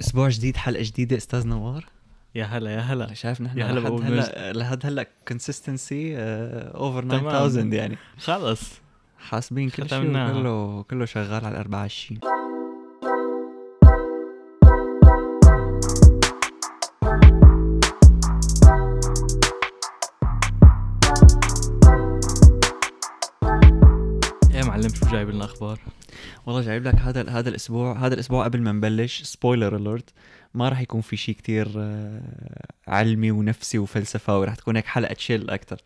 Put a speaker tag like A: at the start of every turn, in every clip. A: اسبوع جديد حلقه جديده استاذ نوار
B: يا هلا يا هلا
A: شايف نحن
B: يا هلا
A: لحد
B: بقول
A: هلا لحد آه، هلا كونسستنسي اوفر
B: تمام.
A: 9000 يعني
B: خلص
A: حاسبين كل شيء
B: ختمناها.
A: كله كله شغال على 24
B: يا معلم شو جايب لنا اخبار
A: والله جايب لك هذا هذا الاسبوع هذا الاسبوع قبل ما نبلش سبويلر اليرت ما راح يكون في شيء كتير آه، علمي ونفسي وفلسفاوي راح تكون هيك حلقه تشيل اكثر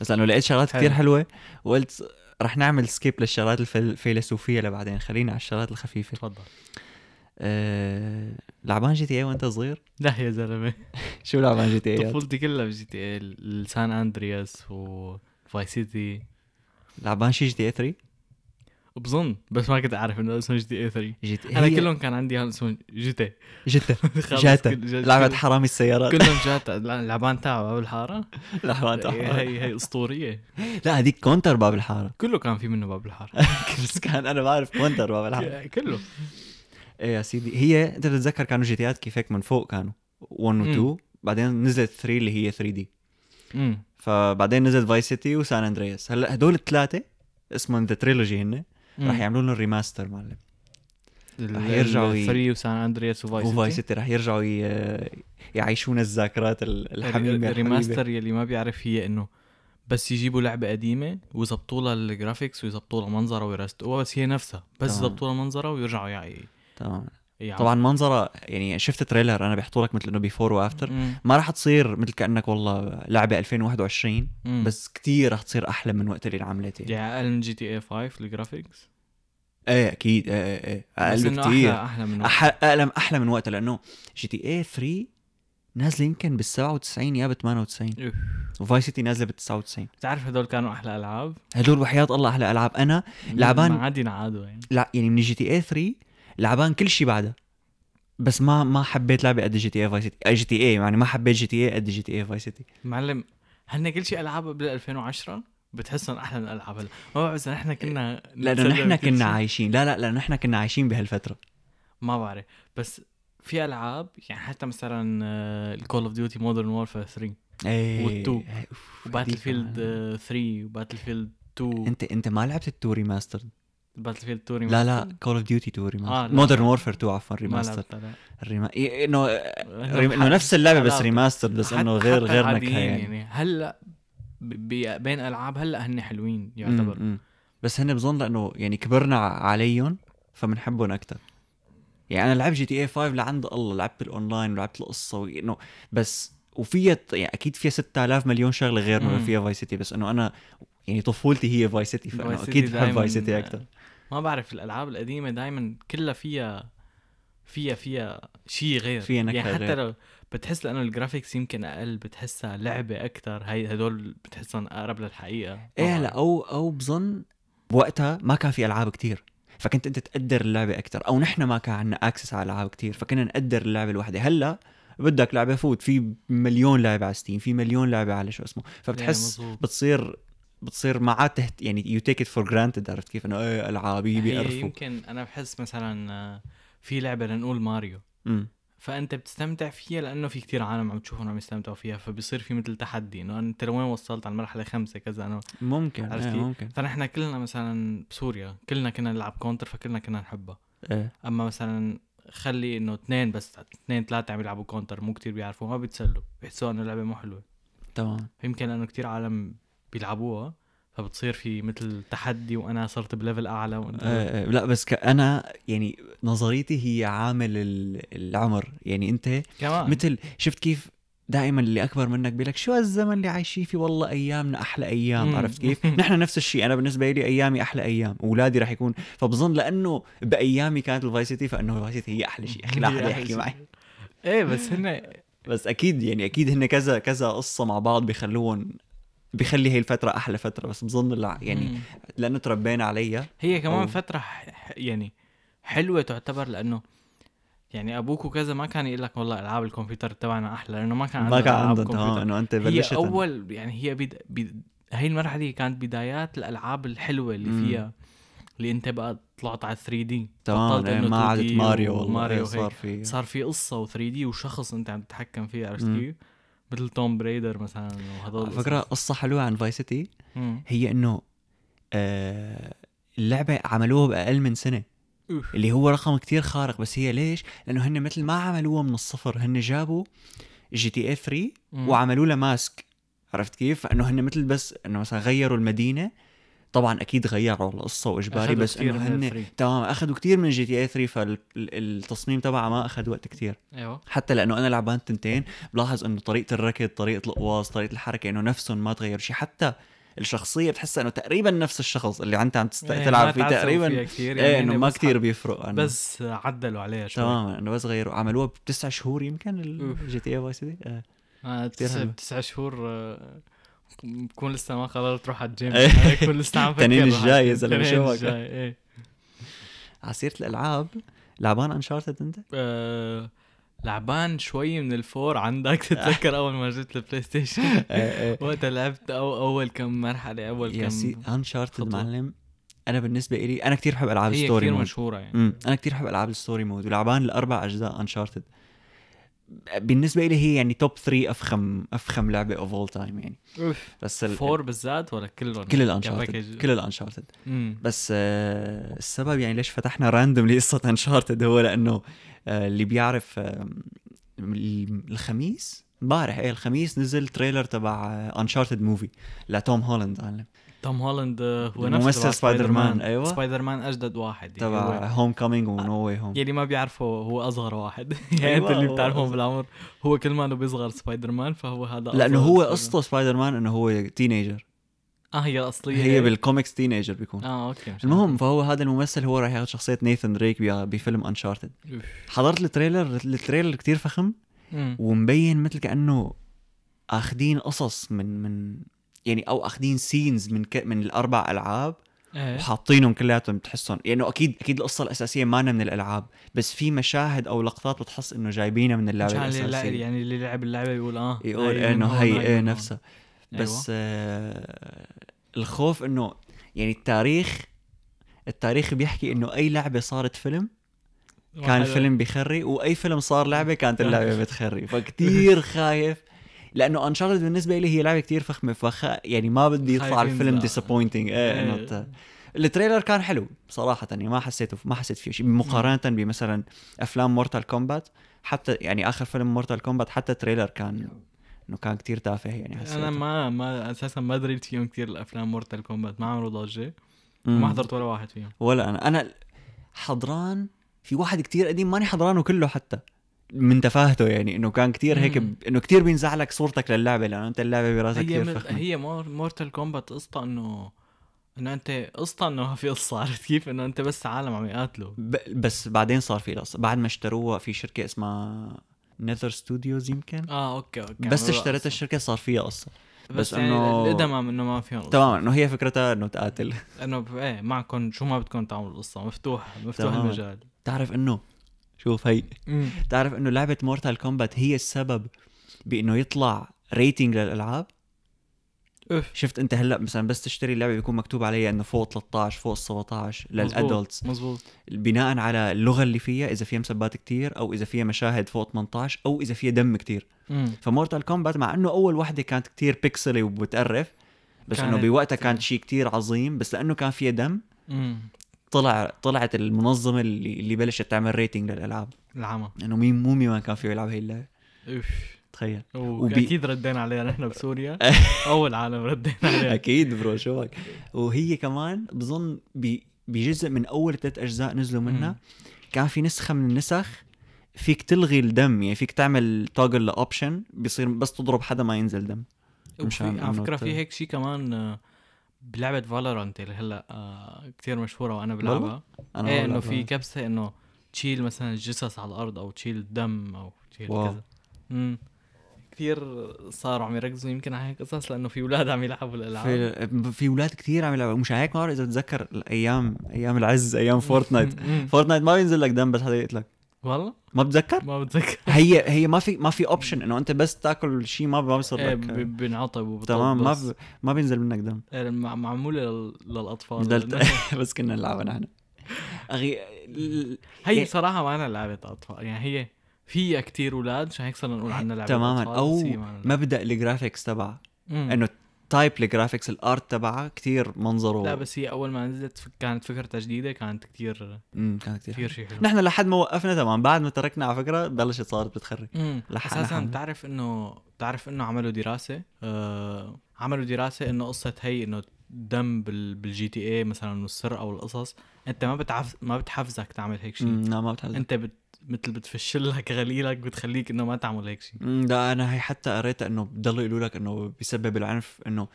A: بس لانه لقيت شغلات
B: حلو.
A: كتير حلوه وقلت راح نعمل سكيب للشغلات الفل- الفيلسوفيه لبعدين خلينا على الشغلات الخفيفه
B: تفضل
A: أه... لعبان جي تي اي وانت صغير
B: لا يا زلمه
A: شو لعبان جي تي إيه؟ اي
B: طفولتي كلها بجي تي اي السان اندرياس وفاي سيتي
A: لعبان شي جي تي إيه اي 3
B: بظن بس ما كنت اعرف انه اسمه جي تي اي 3
A: جي تي
B: انا كلهم كان عندي هون اسمهم جي تي
A: جتا
B: خلص
A: جاتا
B: كل- جا-
A: لعبة
B: كل-
A: حرامي السيارات
B: كلهم جاتا العبان تاعه باب الحاره
A: لعبة حرامي.
B: هي هي- هي اسطوريه
A: لا هذيك كونتر باب الحارة
B: كله كان في منه باب الحاره
A: بس كان انا بعرف كونتر باب الحارة
B: كله
A: ايه يا سيدي هي انت بتتذكر كانوا جي تيات كيف هيك من فوق كانوا 1 و
B: مم.
A: 2 بعدين نزلت 3 اللي هي 3 دي
B: امم
A: فبعدين نزلت فاي سيتي وسان اندرياس هلا هدول الثلاثة اسمهم ذا تريلوجي هن رح يعملوا لهم ريماستر معلم رح يرجعوا ي-
B: 3 وسان اندرياس وفاي
A: وفاي
B: سيتي
A: سيتي رح يرجعوا ي- يعيشونا الذاكرات ال- الحميمة الحبيبة.
B: الريماستر يلي ما بيعرف هي انه بس يجيبوا لعبه قديمه ويظبطوا لها الجرافيكس ويظبطوا لها منظرها ويرستقوها بس هي نفسها بس
A: تمام.
B: يظبطوا لها منظرها ويرجعوا يعني
A: تمام
B: يعني
A: طبعا منظرها يعني شفت تريلر انا بيحطوا لك مثل انه بيفور وافتر
B: مم.
A: ما راح تصير مثل كانك والله لعبه 2021
B: مم.
A: بس كتير راح تصير احلى من وقت اللي انعملت يعني
B: يعني اقل من جي تي اي 5 الجرافيكس
A: ايه اكيد ايه ايه ايه
B: بس
A: اقل
B: إنه
A: كتير
B: احلى احلى من وقت.
A: أح- اقل احلى من وقتها لانه جي تي اي 3 نازله يمكن بال 97 يا ب 98
B: أوف.
A: وفاي سيتي نازله بال 99
B: بتعرف هدول كانوا احلى العاب
A: هدول وحياه الله احلى العاب انا لعبان-
B: ما عاد ينعادوا يعني
A: لا يعني من جي تي اي 3 لعبان كل شيء بعدها بس ما ما حبيت لعبه قد جي تي اي فاي سيتي جي تي اي يعني ما حبيت جي تي اي قد جي تي اي فاي سيتي
B: معلم هن كل شيء العاب قبل 2010 بتحسهم احلى من الالعاب هلا ما بعرف اذا نحن كنا
A: لانه
B: نتسلى
A: نحن
B: بكل شيء.
A: كنا عايشين لا لا لانه نحن كنا عايشين بهالفتره
B: ما بعرف بس في العاب يعني حتى آه، مثلا الكول اوف ديوتي مودرن وورفير 3
A: ايه
B: والتو.
A: إيه، أوف،
B: وباتل
A: هديك
B: فيلد
A: عن-
B: 3 وباتل فيلد 2
A: انت انت ما لعبت التو ريماستر
B: باتل فيلد 2
A: لا لا كول اوف ديوتي 2
B: آه،
A: ريماستر
B: لا.
A: مودرن وورفير 2 عفوا ريماستر الريما إيه، انه ريم- انه نفس اللعبه بس ريماستر بس انه غير غير نكهه يعني
B: يعني هلا ب- ب- بين العاب هلا هن حلوين
A: مم،
B: يعتبر
A: مم. بس هن بظن لانه يعني كبرنا ع- عليهم فبنحبهم اكثر يعني انا لعبت جي تي اي 5 لعند الله لعبت الاونلاين ولعبت القصه وانه بس وفيها ت- يعني اكيد فيها 6000 مليون شغله غير ما
B: مم.
A: فيها فاي سيتي بس انه انا يعني طفولتي هي فاي سيتي
B: فاي
A: فانا
B: سيتي
A: اكيد بحب
B: دايماً-
A: فاي سيتي اكثر
B: ما بعرف الالعاب القديمه دائما كلها فيها فيها فيها شيء غير
A: فيها نكهة
B: يعني حتى
A: غير.
B: لو بتحس لانه الجرافيكس يمكن اقل بتحسها لعبه اكثر هي هدول بتحسهم اقرب للحقيقه ما
A: ايه
B: بعرف.
A: لا او او بظن بوقتها ما كان في العاب كتير فكنت انت تقدر اللعبه اكثر او نحن ما كان عندنا اكسس على العاب كتير فكنا نقدر اللعبه الواحده هلا بدك لعبه فوت في مليون لعبه على ستيم في مليون لعبه على شو اسمه فبتحس
B: إيه، مظبوط.
A: بتصير بتصير ما عاد تهت يعني يو تيك ات فور جرانتد عرفت كيف انه ايه العابي
B: هي
A: بيقرفوا
B: إيه، يمكن انا بحس مثلا آه، في لعبه لنقول ماريو
A: أمم.
B: فانت بتستمتع فيها لانه في كتير عالم عم تشوفهم عم يستمتعوا فيها فبصير في مثل تحدي انه انت لوين وصلت على المرحله خمسه كذا انا
A: ممكن
B: عرفت
A: ايه
B: كيف؟
A: ممكن
B: فنحن كلنا مثلا بسوريا كلنا كنا نلعب كونتر فكلنا كنا نحبها
A: ايه
B: اما مثلا خلي انه اثنين بس اثنين ثلاثه عم يلعبوا كونتر مو كتير بيعرفوا ما بيتسلوا بيحسوا انه اللعبه مو حلوه
A: تمام
B: يمكن لانه كتير عالم بيلعبوها فبتصير في مثل تحدي وانا صرت بليفل اعلى وانت
A: آه، آه، لا بس ك- انا يعني نظريتي هي عامل ال- العمر يعني انت
B: كمان
A: مثل شفت كيف دائما اللي اكبر منك بيقول لك شو هالزمن اللي عايشين فيه والله ايامنا احلى ايام
B: مم.
A: عرفت كيف؟ نحن نفس الشيء انا بالنسبه لي ايامي احلى ايام، اولادي رح يكون فبظن لانه بايامي كانت الفاي سيتي فانه الفاي سيتي هي احلى شيء، اخي لا
B: هي
A: حدا
B: أحلى
A: يحكي
B: شيء.
A: معي،
B: ايه بس هن
A: بس اكيد يعني اكيد هن كذا كذا قصه مع بعض بخلوهم بخلي هي الفترة أحلى فترة بس بظن الع- يعني
B: مم.
A: لأنه تربينا عليها
B: هي كمان
A: أو-
B: أو... فترة ح... ح- يعني حلوة تعتبر لأنه يعني أبوك وكذا ما كان يقول لك والله ألعاب الكمبيوتر تبعنا أحلى لأنه ما كان
A: ما كان
B: ألعاب
A: عندهم تمام
B: كمبيوتر.
A: إنه أنت
B: هي
A: بلشت
B: أول يعني هي بد... بد... هي المرحلة هي كانت بدايات الألعاب الحلوة اللي
A: مم.
B: فيها اللي أنت بقى طلعت على 3 دي
A: تمام إيه، ما عادت ماريو والله
B: ماريو
A: ماريو
B: هيك
A: صار في
B: إيه، صار في قصه و3 دي وشخص انت عم تتحكم فيه عرفت
A: مم.
B: كيف؟ مثل توم بريدر مثلا وهدول
A: على فكره قصه حلوه عن فاي سيتي
B: مم.
A: هي انه آه، اللعبه عملوها باقل من سنه
B: أوف.
A: اللي هو رقم كتير خارق بس هي ليش؟ لانه هن مثل ما عملوها من الصفر هن جابوا جي تي اي 3
B: مم.
A: وعملوا لها ماسك عرفت كيف؟ فانه هن مثل بس انه مثلا غيروا المدينه طبعا اكيد غيروا القصه واجباري
B: أخذوا
A: بس
B: كتير
A: انه
B: من
A: هن
B: الفري.
A: تمام اخذوا كتير من جي تي إيه اي 3 فالتصميم تبعها ما اخذ وقت كتير
B: ايوه
A: حتى لانه انا لعبان التنتين بلاحظ انه طريقه الركض طريقه القواص طريقه الحركه انه نفسهم ما تغير شيء حتى الشخصيه بتحسها انه تقريبا نفس الشخص اللي انت عم تست-
B: إيه،
A: تلعب
B: ما
A: فيه
B: تعسوا
A: تقريبا
B: فيها كتير
A: ايه انه
B: هن
A: ما
B: بس
A: كتير
B: ح-
A: بيفرق عنه
B: بس عدلوا عليها شوي
A: تماما انه بس غيروا عملوها بتسع شهور يمكن
B: أوف.
A: الجي تي اي فاي سيتي آه.
B: آه،
A: كتير
B: تسع
A: حلوة.
B: تسع شهور آه، بكون لسه ما قررت روح على الجيم
A: إيه.
B: أنا بكون لسه عم فكر
A: التنين
B: روح
A: الجاي يا
B: على الجيم.
A: زلمة،
B: التنين
A: شو بك؟
B: الجاي، إيه.
A: على سيره الالعاب لعبان انشارتد انت؟
B: آه، لعبان شوي من الفور عندك تتذكر اول ما جبت البلاي ستيشن
A: ايه
B: وقتها لعبت أو اول كم مرحله اول
A: يا سي
B: كم
A: انشارتد
B: خطوة.
A: معلم انا بالنسبه إلي انا كتير بحب العاب
B: هي
A: ستوري
B: كثير
A: مود
B: مشهوره يعني
A: امم انا كتير بحب العاب الستوري مود ولعبان الاربع اجزاء انشارتد بالنسبه لي هي يعني توب 3 افخم افخم لعبه اوف اول تايم يعني
B: اوف
A: بس ال...
B: فور بالذات ولا يعني كلهم
A: كل الانشارتد كل الانشارتد
B: كل
A: بس آه السبب يعني ليش فتحنا راندوملي قصه انشارتد هو لانه آه اللي بيعرف آه الخميس امبارح ايه الخميس نزل تريلر تبع آه، انشارتد موفي لتوم هولاند عالم
B: توم هولاند آه، هو نفسه
A: ممثل
B: تبع
A: سبايدر مان، أيوة.
B: سبايدر مان اجدد واحد يعني هو-
A: تبع هوم كومينج ونو واي هوم
B: يلي ما بيعرفه هو اصغر واحد يعني انت
A: أيوة،
B: اللي
A: هو
B: بتعرفهم
A: أصغر.
B: بالعمر هو كل ما انه بيصغر سبايدر مان فهو هذا
A: لانه
B: أصغر
A: هو
B: سبايدر مان.
A: قصته سبايدر مان انه هو تينيجر
B: اه هي اصليه
A: هي بالكوميكس تينيجر بيكون
B: اه اوكي مش
A: المهم فهو هذا الممثل هو راح ياخذ شخصيه نيثن دريك بيا- بفيلم انشارتد
B: عارف. أوف.
A: حضرت التريلر التريلر كتير فخم
B: أمم.
A: ومبين مثل كانه اخذين قصص من من يعني او اخذين سينز من ك... من الاربع العاب
B: إيه.
A: وحاطينهم كلياتهم بتحسهم يعني اكيد اكيد القصه الاساسيه مانا من الالعاب بس في مشاهد او لقطات بتحس انه جايبينها من إيه، اللعبه
B: مشان اللي لا-
A: الاساسيه
B: يعني اللي لعب اللعبه يقول اه
A: يقول
B: هاي من
A: انه
B: هون،
A: هي
B: من
A: ايه
B: هون.
A: نفسها
B: أيوة.
A: بس آه الخوف انه يعني التاريخ التاريخ بيحكي انه اي لعبه صارت فيلم
B: أيوة.
A: كان
B: واحد-
A: الفيلم بيخري واي فيلم صار لعبه كانت اللعبه بتخري فكتير خايف لانه انشارتد بالنسبه لي هي لعبه كتير فخمه فخ يعني ما بدي يطلع
B: خايفين
A: الفيلم
B: لا.
A: ديسابوينتنج ايه انه
B: إيه.
A: ت- التريلر كان حلو صراحه يعني ما حسيته ما حسيت فيه شيء مقارنه بمثلا افلام مورتال كومبات حتى يعني اخر فيلم مورتال كومبات حتى التريلر كان انه كان كتير تافه يعني حسيت
B: انا ما ما اساسا ما دريت فيهم كثير الافلام مورتال كومبات ما عملوا ضجه
A: مم.
B: ما حضرت ولا واحد فيهم
A: ولا انا انا حضران في واحد كتير قديم ماني حضرانه كله حتى من تفاهته يعني انه كان كتير هيك
B: مم.
A: ب... انه كتير بينزع لك صورتك للعبه لانه انت اللعبه براسك
B: هي
A: كتير
B: من-
A: فخمه
B: هي مورتال كومبات قصتها انه انه انت قصتها انه ما في قصه عرفت كيف؟ انه انت بس عالم عم يقاتلوا
A: ب... بس بعدين صار في قصه بعد ما اشتروها في شركه اسمها نذر ستوديوز يمكن
B: اه اوكي اوكي
A: بس
B: عملوا
A: اشتريت
B: قصة.
A: الشركه صار فيها قصه
B: بس,
A: بس
B: يعني
A: إنه-
B: الادمم انه ما فيهم قصه
A: تماما انه هي فكرتها انه تقاتل
B: انه ب- ايه معكم شو ما بدكم تعملوا قصه مفتوح مفتوح
A: تماماً.
B: المجال
A: تعرف انه شوف هي تعرف انه لعبه مورتال كومبات هي السبب بانه يطلع ريتنج للالعاب
B: اوف
A: شفت انت هلا مثلا بس تشتري اللعبه بيكون مكتوب عليها انه فوق 13 فوق 17 للادلتس
B: مزبوط
A: بناء على اللغه اللي فيها اذا فيها مسبات كتير او اذا فيها مشاهد فوق 18 او اذا فيها دم كتير
B: مم.
A: فمورتال كومبات مع انه اول وحده كانت كتير بيكسلي وبتقرف بس انه
B: كانت-
A: بوقتها كانت شيء كتير عظيم بس لانه كان فيها دم
B: مم.
A: طلع طلعت المنظمه اللي اللي بلشت تعمل ريتنج للالعاب
B: العمى
A: انه مين مو مين ما كان فيه يلعب هي اللعبه
B: اوف
A: تخيل وبي-
B: واكيد ردينا عليها نحن بسوريا اول عالم ردينا عليها
A: اكيد برو شوك وهي كمان بظن ب- بجزء من اول ثلاث اجزاء نزلوا
B: مم.
A: منها كان في نسخه من النسخ فيك تلغي الدم يعني فيك تعمل توجل لاوبشن بيصير بس تضرب حدا ما ينزل دم مشان
B: وفي- على
A: إنه
B: فكره
A: ت-
B: في هيك شيء كمان آه، بلعبه فالورانت اللي هلا آه، كتير مشهوره وانا بلعبها
A: انا
B: ايه
A: ما
B: انه
A: بلعب
B: في
A: هذا.
B: كبسه انه تشيل مثلا الجثث على الارض او تشيل الدم او تشيل
A: واو.
B: كذا امم كثير صاروا عم يركزوا يمكن على هيك قصص لانه في اولاد عم يلعبوا الالعاب
A: في في اولاد كثير عم يلعبوا مش هيك ما بعرف اذا بتذكر الايام ايام العز ايام فورتنايت
B: مم.
A: فورتنايت ما بينزل لك دم بس حدا يقتلك
B: والله
A: ما بتذكر
B: ما بتذكر
A: هي هي ما في ما في اوبشن انه انت بس تاكل شيء ما ما بيصير
B: ايه
A: لك
B: ب- بنعطب وبطب
A: تمام ما
B: بس.
A: ب- ما بينزل منك دم
B: إيه، مع- معموله لل- للاطفال
A: دلت...
B: لأنه-
A: بس كنا نلعبها نحن اخي
B: هي صراحه ما انا لعبه اطفال يعني هي فيها كتير اولاد عشان هيك صرنا نقول عنها لعبه
A: تماما
B: أطفال،
A: او
B: بس هي ما أنا لعبة.
A: مبدا الجرافيكس تبعها
B: مم.
A: انه تايب الجرافيكس الارت تبعها كثير منظره
B: لا بس هي اول ما نزلت ف- كانت فكرتها جديده كانت كتير
A: امم كان
B: كتير
A: كثير
B: شيء حلو
A: نحن لحد ما وقفنا تمام بعد ما تركنا على فكره بلشت صارت بتخرب
B: مم.
A: لحق-
B: اساسا
A: لحق.
B: بتعرف انه بتعرف انه عملوا دراسه آه عملوا دراسه انه قصه هي انه دم بال بالجي تي اي مثلا والسرقه والقصص انت ما بتعف ما بتحفزك تعمل هيك شيء
A: أمم، لا ما بتحزن
B: انت بت مثل بتفش لك غليلك بتخليك انه ما تعمل هيك شيء
A: أمم، لا انا هي حتى قريتها انه بضلوا يقولوا لك انه بسبب العنف انه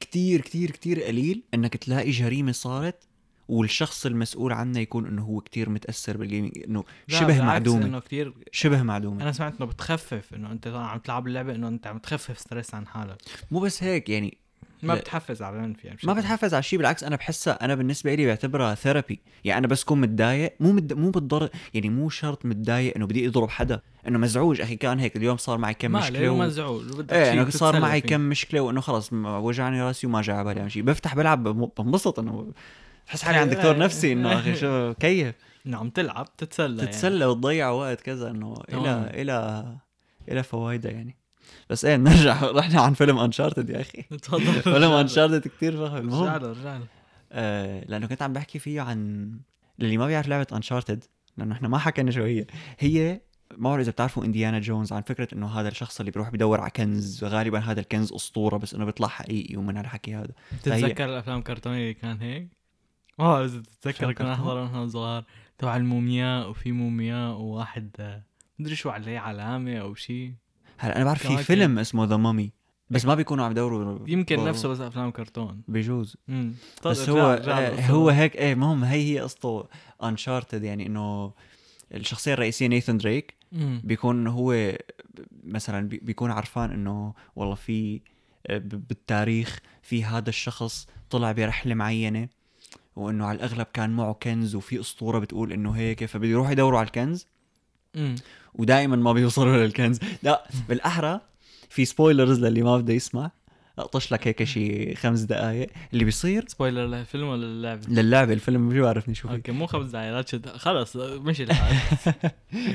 A: كتير كتير كتير قليل انك تلاقي جريمه صارت والشخص المسؤول عنها يكون انه هو كتير متاثر بالجيمنج انه
B: لا،
A: شبه
B: بالعكس،
A: معدومه
B: انه كثير
A: شبه معدومه
B: انا سمعت انه بتخفف انه انت طبعاً عم تلعب اللعبه انه انت عم تخفف ستريس عن حالك
A: مو بس هيك يعني
B: ما
A: لا.
B: بتحفز على العنف يعني
A: ما
B: بشكل-
A: بتحفز على شيء بالعكس انا بحسها انا بالنسبه لي بعتبرها ثيرابي يعني انا بس كون متضايق مو مد... مو بالضر يعني مو شرط متضايق انه بدي اضرب حدا انه مزعوج اخي كان هيك اليوم صار معي كم
B: ما
A: مشكله
B: عليه
A: و...
B: وما زعول بدك
A: ايه
B: شيء
A: انه صار
B: تتسلى
A: معي
B: فيه.
A: كم مشكله وانه خلص م- وجعني راسي وما جاي على بالي أعمل شيء بفتح بلعب بم- بنبسط انه بحس حالي عند دكتور
B: أيوة.
A: نفسي انه اخي شو كيف
B: انه عم نعم، تلعب تتسلى
A: تتسلى وتضيع وقت كذا انه
B: يعني. تمام.
A: الى الى الى فوائده يعني بس ايه بنرجع رحنا عن فيلم انشارتد يا اخي
B: يعني. تفضل
A: فيلم انشارتد كثير فخم المهم
B: رجع له رجع له
A: آه، لانه كنت عم بحكي فيه عن للي ما بيعرف لعبه انشارتد لانه احنا ما حكينا شو هي هي ما بعرف اذا بتعرفوا انديانا جونز عن فكره انه هذا الشخص اللي بيروح بدور على كنز غالبا هذا الكنز اسطوره بس انه بيطلع حقيقي ومن هالحكي هذا
B: بتتذكر الافلام الكرتونيه اللي كان هيك؟ ما بعرف اذا بتتذكر
A: أفلام
B: كنا
A: كرتون؟
B: نحضر ونحن صغار تبع المومياء وفي مومياء وواحد آه، مدري شو عليه علامه او شيء
A: هلا انا بعرف في
B: كمان
A: فيلم اسمه ذا مامي بس ما بيكونوا عم يدوروا
B: يمكن
A: بيدوروا.
B: نفسه بس افلام كرتون
A: بجوز
B: امم
A: بس
B: طيب،
A: هو
B: رجع- رجع
A: آه،
B: للقصة.
A: هو هيك ايه المهم هي هي قصته انشارتد يعني انه الشخصيه الرئيسيه نيثان دريك
B: مم.
A: بيكون هو مثلا بي- بيكون عرفان انه والله في آه، ب- بالتاريخ في هذا الشخص طلع برحله معينه وانه على الاغلب كان معه كنز وفي اسطوره بتقول انه هيك فبده يروحوا يدوروا على الكنز
B: مم.
A: ودائما ما بيوصلوا للكنز لا بالاحرى في سبويلرز للي ما بده يسمع اقطش لك هيك شي خمس دقائق اللي بيصير
B: سبويلر للفيلم ولا للعبه؟
A: للعبه الفيلم شو عرفني شو فيه
B: اوكي مو خمس دقائق لا تشد خلص مشي الحال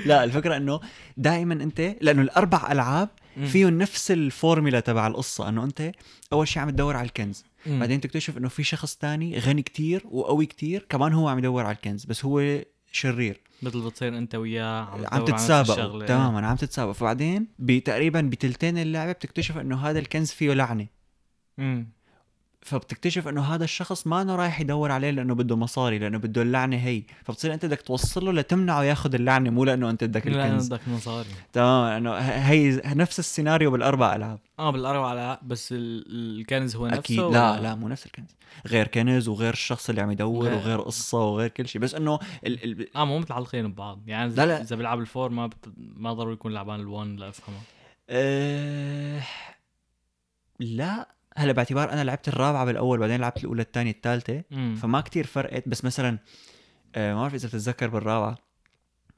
A: لا الفكره انه دائما انت لانه الاربع العاب
B: مم.
A: فيهم نفس الفورميلا تبع القصه انه انت اول شيء عم تدور على الكنز
B: مم.
A: بعدين تكتشف انه في شخص تاني غني كتير وقوي كتير كمان هو عم يدور على الكنز بس هو شرير
B: مثل بتصير انت وياه عم,
A: عم
B: إيه.
A: تتسابقوا تماما عم تتسابقوا فبعدين بتقريبا بتلتين اللعبه بتكتشف انه هذا الكنز فيه لعنه
B: امم
A: فبتكتشف انه هذا الشخص ما انه رايح يدور عليه لانه بده مصاري لانه بده اللعنه هي فبتصير انت بدك توصله لتمنعه ياخذ اللعنه مو لانه انت بدك
B: لانه
A: الكنز
B: بدك مصاري
A: تمام انه هي نفس السيناريو بالاربع العاب
B: اه بالاربع على بس ال- الكنز هو نفسه
A: اكيد لا
B: ولا-
A: لا مو نفس الكنز غير كنز وغير الشخص اللي عم يدور
B: غير.
A: وغير قصه وغير كل شيء بس انه ال... ال...
B: اه مو متعلقين ببعض يعني
A: لا، لا.
B: اذا اذا بيلعب الفور ما بت... ما ضروري يكون لعبان الون لافهمه
A: آه... لا هلا باعتبار انا لعبت الرابعه بالاول بعدين لعبت الاولى الثانيه الثالثه
B: امم
A: فما كتير فرقت بس مثلا آه ما بعرف اذا بتتذكر بالرابعه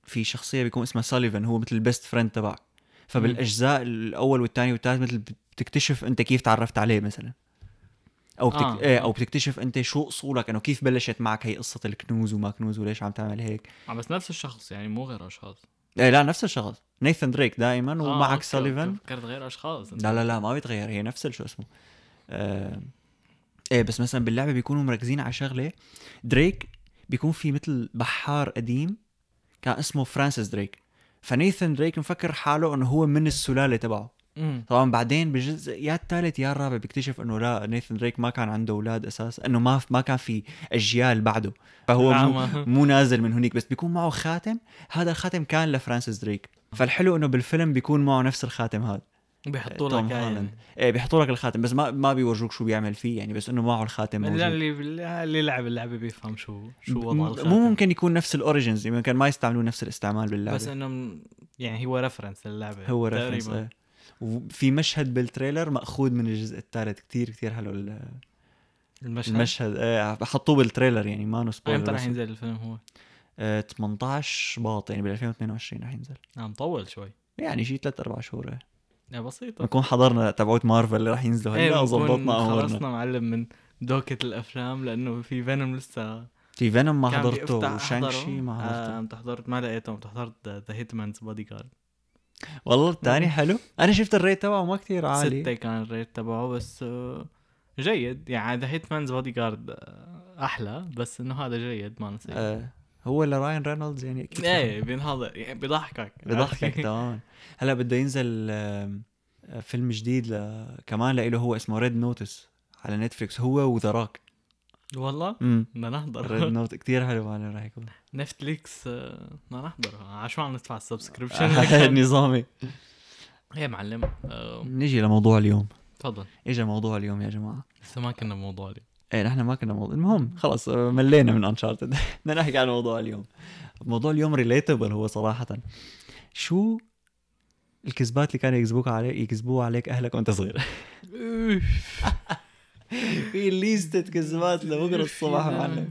A: في شخصيه بيكون اسمها ساليفان هو مثل البيست فريند تبعك فبالاجزاء الاول والثاني والثالث مثل بتكتشف انت كيف تعرفت عليه مثلا او بتك...
B: آه.
A: آه. ايه او بتكتشف انت شو اصولك انه كيف بلشت معك هي قصه الكنوز وما كنوز وليش عم تعمل هيك
B: آه بس نفس الشخص يعني مو غير اشخاص
A: إيه لا نفس الشخص نيثان دريك دائما
B: آه،
A: ومعك
B: أوكي،
A: ساليفان
B: أوكي، فكرت غير اشخاص
A: لا لا لا ما بيتغير هي نفس شو اسمه آه ايه بس مثلا باللعبه بيكونوا مركزين على شغله دريك بيكون في مثل بحار قديم كان اسمه فرانسيس دريك فنيثن دريك مفكر حاله انه هو من السلاله تبعه
B: امم
A: طبعا بعدين بالجزء يا الثالث يا الرابع بيكتشف انه لا نيثن دريك ما كان عنده اولاد اساس انه ما ما كان في اجيال بعده فهو مو
B: ما
A: مو نازل من هنيك بس بيكون معه خاتم هذا الخاتم كان لفرانسيس دريك فالحلو انه بالفيلم بيكون معه نفس الخاتم هذا
B: بيحطوا
A: توم
B: لك إياه يعني.
A: هولاند. ايه بيحطوا لك الخاتم بس ما ما بيورجوك شو بيعمل فيه يعني بس انه معه الخاتم موجود
B: اللي اللي- اللي لعب اللعبه بيفهم شو شو وضع
A: م-
B: الخاتم
A: مو ممكن يكون نفس الاوريجنز يمكن ما يستعملون نفس الاستعمال باللعبه
B: بس انه م- يعني هو ريفرنس للعبه
A: هو ريفرنس
B: تقريبا
A: ايه وفي مشهد بالتريلر ماخوذ من الجزء الثالث كتير كتير حلو ال-
B: المشهد المشهد
A: المشهد ايه حطوه بالتريلر يعني ما
B: امتى
A: نسبويلر
B: رح ينزل الفيلم هو؟
A: آه 18 باط يعني بال 2022 رح ينزل
B: عم نعم، طول شوي
A: يعني شيء ثلاث اربع شهور إيه.
B: يعني بسيطه
A: بنكون حضرنا تبعوت مارفل اللي رح ينزلوا هلا
B: إيه، بنكون
A: وظبطنا امورنا
B: خلصنا معلم من دوكة الافلام لانه في فينوم لسه
A: في فينوم ما
B: كان
A: حضرته
B: بيفتح
A: وشانكشي
B: أحضره.
A: ما حضرته
B: آه، قمت حضرت ما لقيته قمت حضرت ذا هيتمانز بودي جارد
A: والله الثاني حلو انا شفت الريت تبعه ما كتير عالي
B: ستة كان الريت تبعه بس آه، جيد يعني ذا هيتمانز بودي جارد احلى آه، بس انه هذا جيد ما نسيت
A: آه هو اللي راين رينولدز يعني اكيد
B: ايه بينحضر يعني بيضحكك
A: بضحكك تمام هلا بده ينزل آم، آه، فيلم جديد ل... كمان لإله هو اسمه ريد نوتس على نتفلكس هو وذراك
B: والله
A: امم
B: بدنا
A: ريد
B: نحضر
A: نوت كثير حلو معنا راح يكون
B: نتفليكس آه، بدنا نحضر عشان عم ندفع السبسكريبشن
A: نظامي
B: ايه معلم آه،
A: نيجي لموضوع اليوم
B: تفضل
A: اجى موضوع اليوم يا جماعه
B: لسه ما كنا بموضوع اليوم
A: ايه نحن ما كنا موضوع المهم خلص آه، ملينا من انشارتد بدنا نحكي عن موضوع اليوم موضوع اليوم ريليتبل هو صراحه شو الكذبات اللي كانوا يكذبوك عليك يكذبوها عليك اهلك وانت صغير في ليستة كذبات لبكره الصبح
B: يا
A: معلم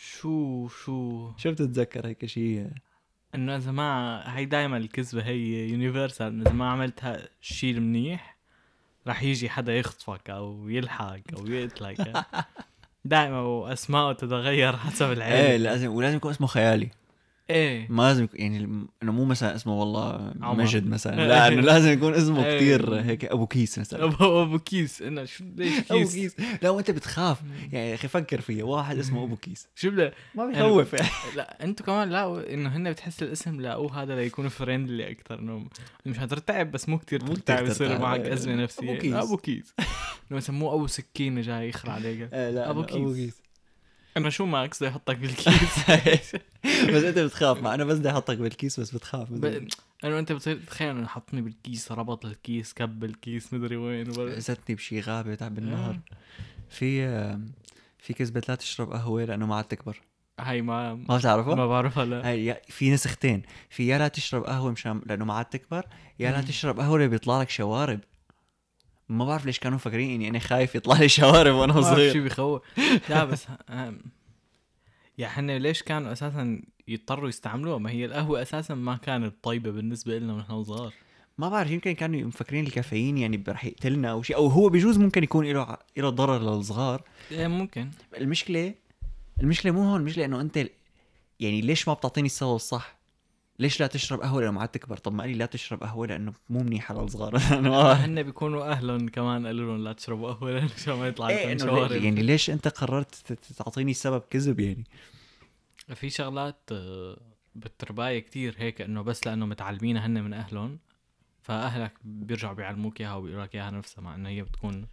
B: شو شو
A: شو بتتذكر هيك شيء
B: انه اذا ما هي دائما الكذبه هي يونيفرسال اذا ما عملت شيء منيح رح يجي حدا يخطفك او يلحقك او يقتلك دائما واسماءه تتغير حسب
A: ايه
B: العيله
A: لازم ولازم يكون اسمه خيالي
B: ايه
A: ما لازم يكون يعني الم- انه مو مثلا اسمه والله
B: عمر.
A: مجد مثلا لا انه لازم يكون اسمه
B: إيه.
A: كثير هيك ابو كيس مثلا
B: ابو ابو كيس انه شو ليش
A: ابو
B: كيس؟
A: كيس لا وانت بتخاف يعني يا اخي فكر فيها واحد اسمه ابو كيس
B: شو بلا
A: ما بيخوف يعني
B: لا انتم كمان لاقوا انه هن بتحس الاسم لاقوه هذا ليكونوا فريندلي اكثر انه مش حترتعب بس مو كثير
A: مو
B: ترتعب
A: كتير
B: يصير
A: ترتعب،
B: معك
A: إيه.
B: ازمه نفسيه
A: أبو كيس.
B: ابو كيس انه سموه ابو سكينه جاي يخرع عليك
A: إيه، لا
B: أبو
A: أبو
B: كيس.
A: كيس
B: انه شو ماكس بده يحطك بالكيس
A: بس انت بتخاف ما انا بس بدي احطك بالكيس بس بتخاف
B: ب- انه انت بتصير تخيل انه حطني بالكيس ربط الكيس كب الكيس مدري وين وبر-
A: زتني بشي غابه
B: إيه.
A: تعب بالنهر في آم، في كذبه لا تشرب قهوه لانه ما عاد تكبر
B: هاي ما
A: ما بتعرفها؟
B: ما بعرفها لا
A: هاي يا- في نسختين في يا لا تشرب قهوه مشان لانه ما عاد تكبر يا لا
B: مم.
A: تشرب قهوه اللي بيطلع لك شوارب ما بعرف ليش كانوا مفكرين اني انا خايف يطلع لي شوارب وانا
B: صغير
A: صغير
B: شو بيخوف لا بس أم، يا حنا ليش كانوا اساسا يضطروا يستعملوها ما هي القهوه اساسا ما كانت طيبه بالنسبه لنا ونحن صغار
A: ما بعرف يمكن كانوا مفكرين الكافيين يعني رح يقتلنا او شيء او هو بجوز ممكن يكون له له ضرر للصغار
B: ايه ممكن
A: المشكله المشكله مو هون المشكله انه انت ال- يعني ليش ما بتعطيني السبب الصح ليش لا تشرب قهوه لما عاد تكبر طب ما قال لي لا تشرب قهوه لانه مو منيحه للصغار انا ما
B: هن بيكونوا اهلهم كمان قالوا لهم لا تشربوا قهوه لأن عشان ما يطلع
A: إيه
B: لكم
A: إنه ليه-
B: شوارب
A: يعني ليش انت قررت ت- ت- تعطيني سبب كذب يعني
B: في شغلات آه، بالتربايه كتير هيك انه بس لانه متعلمينها هن من اهلهم فاهلك بيرجعوا بيعلموك اياها وبيقولوا لك اياها نفسها مع انه هي بتكون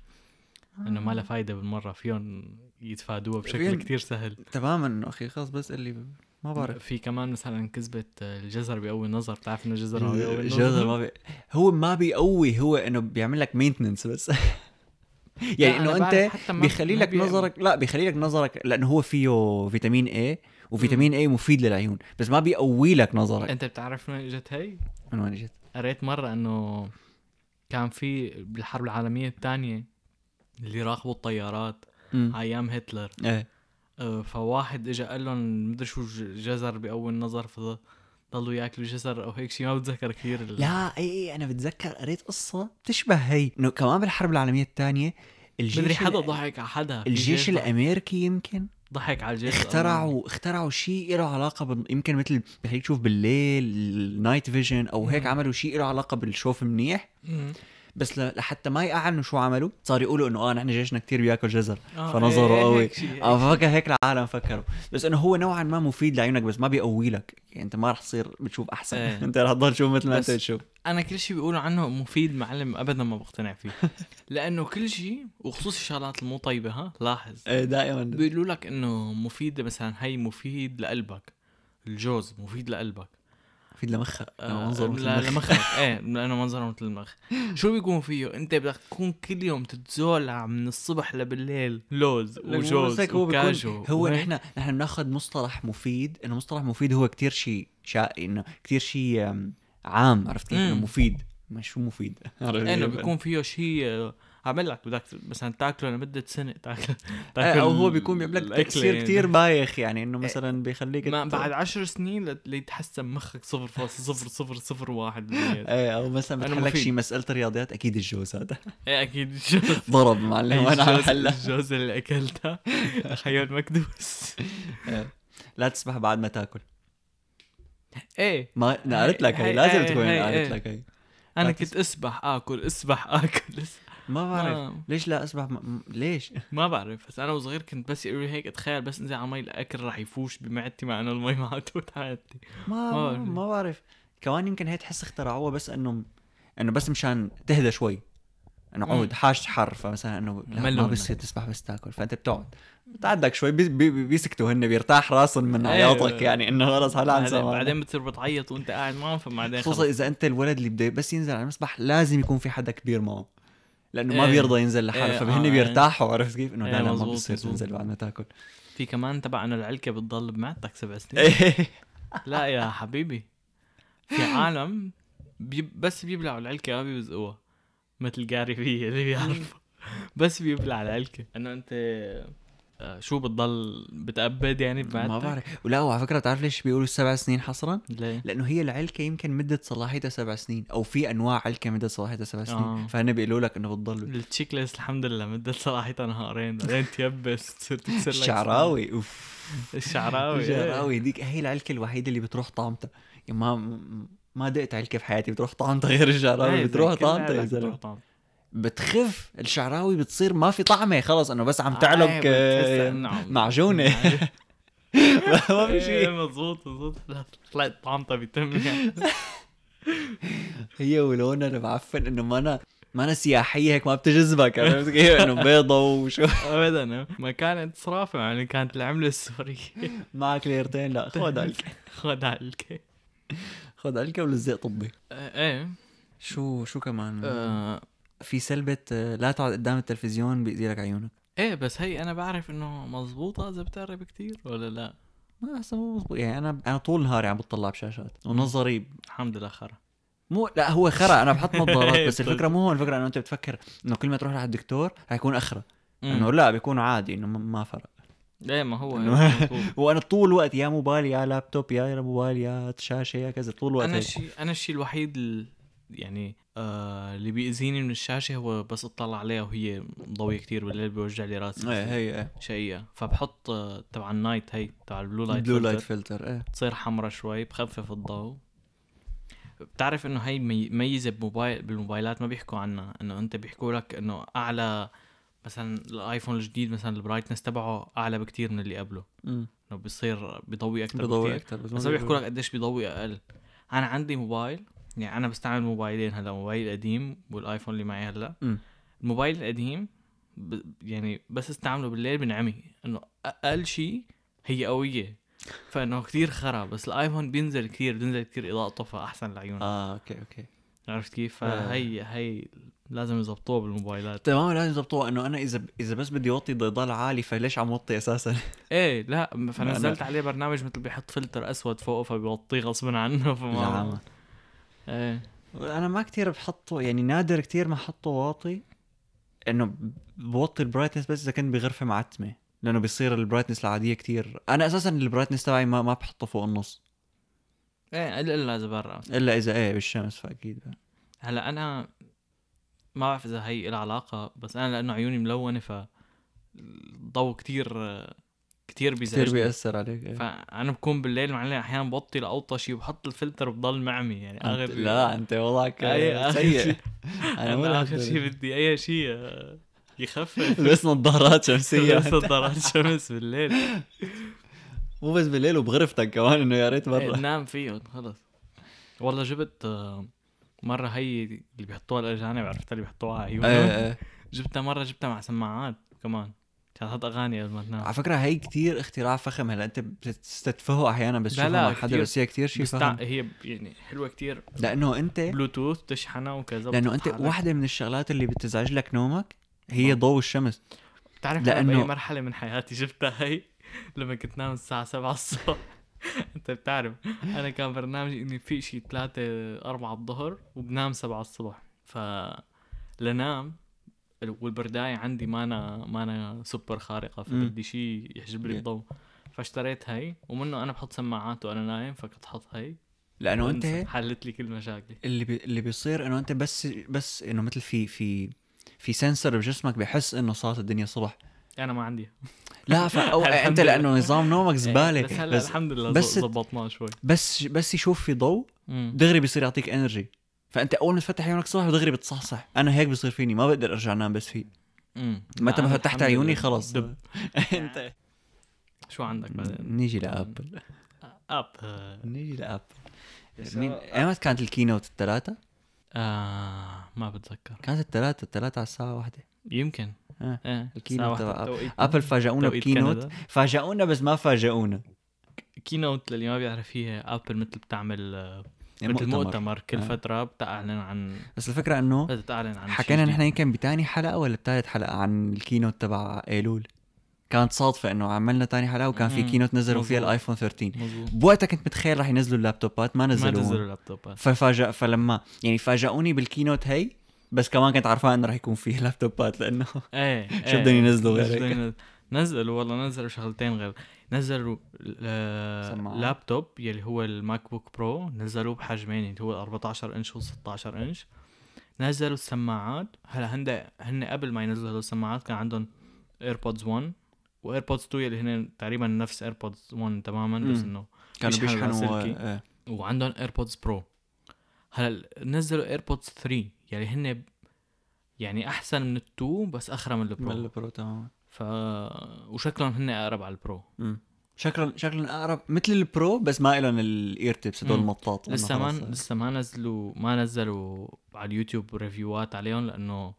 B: انه ما لها فايده بالمره فيهم يتفادوها بشكل
A: فيهم-
B: كتير سهل
A: تماما انه اخي خلص بس قال لي ما بعرف
B: في كمان مثلا كذبه آه، الجزر بيقوي النظر بتعرف انه الجزر ما بيقوي
A: الجزر ما بي... هو ما بيقوي هو انه بيعمل لك مينتننس بس يعني
B: لا، أنا
A: انه
B: بعرف
A: انت
B: حتى ما-
A: بيخلي
B: ما
A: لك
B: بي-
A: نظرك لا بيخلي لك نظرك لانه هو فيه فيتامين اي وفيتامين اي مفيد للعيون بس ما بيقوي لك نظرك
B: انت بتعرف من وين اجت هي؟
A: من وين اجت؟
B: قريت مره انه كان في بالحرب العالميه الثانيه اللي راقبوا الطيارات
A: أمم.
B: ايام هتلر
A: ايه
B: آه، فواحد اجى قال لهم مدري شو ج- جزر بأول نظر فضل ضلوا ياكلوا جزر او هيك شيء ما بتذكر كثير ال-
A: لا اي اي انا بتذكر قريت قصه بتشبه هي انه كمان بالحرب العالميه الثانيه الجيش
B: مدري حدا
A: ال-
B: ضحك على حدا في
A: الجيش
B: جيش ضحك-
A: الامريكي يمكن
B: ضحك على الجيش آه.
A: اخترعوا اخترعوا شيء له علاقه بال... يمكن مثل بخليك تشوف بالليل النايت فيجن او هيك
B: مم.
A: عملوا شيء له علاقه بالشوف منيح
B: الأمريكي.
A: بس ل... لحتى ما يعلنوا شو عملوا صار يقولوا انه اه نحن جيشنا كتير بياكل جزر
B: آه،
A: فنظره
B: إيه،
A: قوي.
B: هيك شيء.
A: اه فكر هيك العالم فكروا بس انه هو نوعا ما مفيد لعيونك بس ما بيقوي لك يعني انت ما رح تصير بتشوف احسن
B: إيه.
A: انت رح تضل تشوف مثل ما
B: بس-
A: انت بتشوف
B: انا كل شيء بيقولوا عنه مفيد معلم ابدا ما بقتنع فيه لانه كل شيء وخصوص الشغلات المو طيبه ها لاحظ
A: ايه دائما
B: بيقولوا لك انه مفيد مثلا هي مفيد لقلبك الجوز مفيد لقلبك
A: مفيد لمخك
B: آه،
A: منظر مثل
B: لا-
A: المخ.
B: لمخك ايه لانه منظره مثل المخ شو بيكون فيه انت بدك تكون كل يوم تتزولع من الصبح لبالليل لوز
A: لك مو بس
B: وجوز
A: هيك هو بيكون-
B: وكاجو
A: هو
B: وهيك.
A: نحن نحن بناخذ مصطلح مفيد انه مصطلح مفيد هو كتير شيء شائع انه كتير شيء عام عرفت كيف انه
B: مم.
A: مفيد ما شو مفيد
B: إيه، انه بيكون فيه شيء آه، عامل لك بدك مثلا تاكله لمده سنه تاكل
A: آه، او هو بيكون بيعمل لك تكسير
B: الأكلة يعني. إيه.
A: كثير بايخ يعني انه مثلا بيخليك
B: ما
A: ت-
B: بعد عشر سنين لت- ليتحسن مخك 0.0001 بالمية.
A: ايه او مثلا
B: أنا
A: بتحلك
B: مفيد.
A: شيء مساله رياضيات اكيد الجوز هذا
B: ايه اكيد الجوز
A: ضرب معلم وانا عم
B: إيه، الجوز,
A: حلها
B: الجوز اللي اكلتها خيال مكدوس
A: لا تسبح بعد ما تاكل
B: ايه
A: ما انا قالت لك هي
B: هي-
A: لازم
B: هي-
A: تكون
B: هي- إيه.
A: أنا قالت
B: هي.
A: لك هي
B: انا
A: لا
B: كنت اسبح اكل اسبح اكل أسبح.
A: ما بعرف
B: ما-
A: ليش لا اسبح ما- م... ليش
B: ما بعرف بس انا وصغير كنت بس يقولوا لي هيك اتخيل بس انزل على مي الاكل راح يفوش بمعدتي مع انه المي ما عتوت حياتي
A: ما ما-
B: بعرف.
A: ما بعرف كمان يمكن هي تحس اخترعوها بس انه انه بس مشان تهدى شوي انه
B: مم.
A: عود حاجة حر فمثلا انه لا
B: ملوا
A: ما
B: منك.
A: بصير تسبح بس تاكل فانت بتقعد بتعدك شوي بي بي بيسكتوا هن بيرتاح راسهم من
B: أيوة.
A: عياطك يعني انه خلص هلا عن
B: بعدين,
A: سمعنا.
B: بعدين بتصير بتعيط وانت قاعد معهم فبعدين
A: خصوصا
B: خلص
A: اذا انت الولد اللي بده بس ينزل على المسبح لازم يكون في حدا كبير معه لانه ما
B: إيه.
A: بيرضى ينزل لحاله
B: إيه،
A: فبهن
B: آه،
A: بيرتاحوا عرفت كيف؟ انه
B: إيه،
A: لا لا ما
B: مزبوط،
A: بصير
B: مزبوط.
A: تنزل بعد ما تاكل
B: في كمان تبع انه العلكه بتضل بمعدتك سبع سنين
A: إيه.
B: لا يا حبيبي في عالم بي بس بيبلعوا العلكة ما بيوزقوها مثل جاري في اللي بيعرفه بس بيبلع العلكة انه انت آه، شو بتضل بتأبد يعني بمعدتك؟
A: ما بعرف ولا وعلى فكره بتعرف ليش بيقولوا السبع سنين حصرا؟
B: ليه؟
A: لانه هي العلكه يمكن مده صلاحيتها سبع سنين او في انواع علكه مده صلاحيتها سبع سنين
B: آه.
A: آه. فهن بيقولوا لك انه بتضل
B: التشيكليست الحمد لله مدة صلاحيتها نهارين بعدين تيبس تصير تكسر لك
A: الشعراوي اوف
B: سنان. الشعراوي إيه.
A: الشعراوي ديك هي العلكه الوحيده اللي بتروح طعمتها يا ما ما دقت علكه في حياتي بتروح طعمتها غير الشعراوي
B: إيه،
A: بتروح
B: كلها
A: طعمتها يا
B: لك
A: زلمه
B: بتروح طعمتها.
A: بتخف الشعراوي بتصير ما في طعمه خلص انه بس عم
B: آه،
A: تعلق
B: بتحسها
A: آه،
B: إنه إيه. عم-
A: معجونه ما في
B: ايه
A: شيء
B: مضبوط مضبوط لا، طلعت طعمتها بتم يعني
A: هي ولونها انا معفن انه ما انا ما انا سياحيه هيك ما بتجذبك عرفت كيف انه بيضة وشو
B: ابدا ما كانت صرافه يعني كانت العمله السوريه
A: معك ليرتين لا خذ علكه
B: خد عليك
A: خذ علكه ولزق طبي
B: ايه
A: شو شو كمان
B: آه،
A: في سلبة آه، لا تقعد قدام التلفزيون بيأذي لك عيونك
B: ايه بس هي انا بعرف انه مزبوطه اذا بتقرب كتير ولا لا
A: ما أحسن مو مزبوط. يعني انا انا طول نهاري عم بتطلع بشاشات ونظري
B: الحمد لله خرا
A: مو لا هو خرا انا بحط نظارات بس الفكره مو هون الفكره انه انت بتفكر انه كل ما تروح على الدكتور حيكون اخرى انه
B: انه
A: لا بيكون عادي انه ما- ما فرق
B: ايه ما هو
A: إنه-
B: مزبوط.
A: وانا طول الوقت يا موبايل يا لابتوب يا موبايل يا شاشه يا كذا طول الوقت
B: انا
A: هيك.
B: الشيء انا الشيء الوحيد ال- يعني آه اللي بيأذيني من الشاشه هو بس اطلع عليها وهي ضوية كتير بالليل بيوجع لي راسي
A: ايه هي ايه
B: شقيقة فبحط آه، تبع النايت هي تبع البلو لايت
A: بلو
B: فلتر.
A: لايت فلتر ايه
B: تصير حمرة شوي بخفف الضوء بتعرف انه هي مي- ميزة بموبايل بالموبايلات ما بيحكوا عنها انه انت بيحكوا لك انه اعلى مثلا الايفون الجديد مثلا البرايتنس تبعه اعلى بكتير من اللي قبله
A: أمم.
B: انه بيصير بيضوي اكثر
A: بضوي
B: بضوي
A: اكثر
B: بس ما بيحكوا لك قديش بيضوي اقل انا عندي موبايل يعني انا بستعمل موبايلين هلا موبايل قديم والايفون اللي معي هلا
A: أمم.
B: الموبايل القديم ب... يعني بس استعمله بالليل بنعمي انه اقل شيء هي قويه فانه كثير خرا بس الايفون بينزل كثير بتنزل كثير اضاءته فاحسن لعيونك آه.
A: اه اوكي اوكي
B: عرفت كيف
A: آه.
B: فهي هي لازم يظبطوها بالموبايلات
A: تمام لازم يضبطوها انه انا اذا اذا بس بدي اوطي ضي ضل عالي فليش عم وطي اساسا
B: ايه لا م-
A: لا،
B: فنزلت
A: لا.
B: عليه برنامج مثل بيحط فلتر اسود فوقه فبيوطيه غصبا عنه
A: نعم
B: فما ايه
A: انا ما كتير بحطه يعني نادر كتير ما احطه واطي انه بوطي البرايتنس بس اذا كنت بغرفه معتمه لانه بيصير البرايتنس العاديه كتير انا اساسا البرايتنس تبعي ما ما بحطه فوق النص
B: ايه الا الا اذا برا
A: الا اذا ايه بالشمس فاكيد
B: هلا انا ما بعرف اذا هي لها علاقه بس انا لانه عيوني ملونه ف الضوء كتير كتير
A: كثير
B: بيزعجني
A: بياثر عليك إيه.
B: فانا بكون بالليل معلم احيانا بوطي لاوطى شيء وبحط الفلتر وبضل معمي يعني
A: أنت
B: اخر
A: لا انت وضعك
B: أي- آخر شي.
A: سيء
B: انا
A: انا
B: ولا
A: ولا
B: اخر شيء بدي اي شيء آه، يخفف
A: بس نظارات شمسيه
B: بس نظارات شمس بالليل
A: مو بس بالليل وبغرفتك كمان انه يا ريت برا
B: نام فيهم خلص والله جبت آه، مرة هي اللي بيحطوها الأجانب عرفتها اللي بيحطوها على عيونهم
A: إيه، إيه.
B: جبتها مرة جبتها مع سماعات كمان كانت تحط أغاني قبل ما تنام
A: على فكره هي كتير اختراع فخم هلا انت بتستتفهه احيانا بس
B: لا،
A: تشوفه
B: لا،
A: مع حدا
B: كتير.
A: بس هي كتير شيء
B: بستع...
A: فخم
B: هي ب- يعني حلوة كتير
A: لانه انت
B: بلوتوث تشحنها وكذا
A: لانه انت
B: بتتحرك.
A: واحده من الشغلات اللي بتزعج لك نومك هي
B: آه.
A: ضوء الشمس
B: بتعرف لأنه...
A: لأنه-
B: بأي مرحلة من حياتي جبتها هي لما كنت نام الساعة 7 الصبح انت بتعرف انا كان برنامجي اني في شيء 3 4 الظهر وبنام 7 الصبح ف لنام والبردايه عندي ما انا ما انا سوبر خارقه فبدي شيء يحجب لي
A: Yeah.
B: الضوء فاشتريت هاي ومنه انا بحط سماعات وانا نايم فكنت حط هاي
A: لانه انت
B: وأنسى. حلت لي كل مشاكلي
A: اللي بي... اللي بيصير انه انت بس بس انه مثل في في في سنسر بجسمك بحس انه صارت الدنيا صبح
B: انا ما عندي
A: لا فأو...
B: الحمد
A: انت
B: لله. إيه،
A: لانه نظام نومك زباله
B: بس هلا
A: بس
B: الحمد لله
A: بس-
B: بس زبطناه شوي
A: بس بس يشوف في ضوء
B: مم.
A: دغري بيصير يعطيك انرجي فانت اول ما تفتح عيونك صبح دغري بتصحصح انا هيك بصير فيني ما بقدر ارجع انام بس فيه
B: مم.
A: متى
B: أنا
A: ما فتحت
B: الحمد
A: عيوني
B: لله.
A: خلص
B: دب.
A: انت
B: شو عندك بعدين؟ آه،
A: نيجي لابل
B: اب
A: نيجي لابل
B: So-
A: مين ايمت كانت الكينوت الثلاثة؟
B: آه ما بتذكر
A: كانت الثلاثة الثلاثة على الساعة واحدة
B: يمكن
A: آه،
B: ايه
A: الكينوت
B: الساعة
A: تبع
B: واحدة.
A: أب-
B: توقيت-
A: ابل فاجئونا
B: توقيت
A: بكينوت
B: كندا.
A: فاجئونا بس ما فاجئونا
B: كينوت للي ما بيعرف هي ابل مثل بتعمل آه،
A: يعني
B: مثل مؤتمر كل
A: آه.
B: فترة بتعلن عن
A: بس الفكرة انه
B: بتعلن عن شي
A: حكينا
B: جديد.
A: نحن يمكن بتاني حلقة ولا بتالت حلقة عن الكينوت تبع ايلول كانت صادفة انه عملنا تاني حلقة وكان في
B: مم،
A: كينوت نزلوا فيها
B: مظبوط.
A: الايفون 13
B: مظبوط
A: بوقتها كنت متخيل رح ينزلوا اللابتوبات ما
B: ما
A: نزلوهم
B: نزلوا اللابتوبات
A: ففاجأ فلما يعني فاجئوني بالكينوت هي بس كمان كنت عارفان انه رح يكون فيه لابتوبات لانه
B: ايه
A: شو بدهم ينزلوا غير هيك؟
B: غير نزلوا والله نزلوا شغلتين غير نزلوا ال- آه،
A: سماعات.
B: لابتوب يلي هو الماك بوك برو نزلوه بحجمين اللي هو 14 انش و 16 انش نزلوا السماعات هلا هن هن قبل ما ينزلوا هدول السماعات كان عندهم ايربودز 1 وايربودز 2 يلي هن تقريبا نفس ايربودز 1 تماما بس
A: مم.
B: انه
A: كانوا
B: بيشحنوا
A: بيشحنوا
B: لاسلكي.
A: آه،
B: وعندهم ايربودز برو هلا نزلوا ايربودز 3 يعني هن ب- يعني احسن من التو بس اخرى من
A: من
B: البرو
A: البرو تماما
B: ف وشكلهم هن اقرب على البرو
A: مم. شكلا شكلا اقرب مثل البرو بس ما لهم الاير تيبس هدول
B: مم.
A: المطاط إنه
B: لسه ما
A: خلاص.
B: لسه ما نزلوا ما نزلوا على اليوتيوب ريفيوات عليهم لانه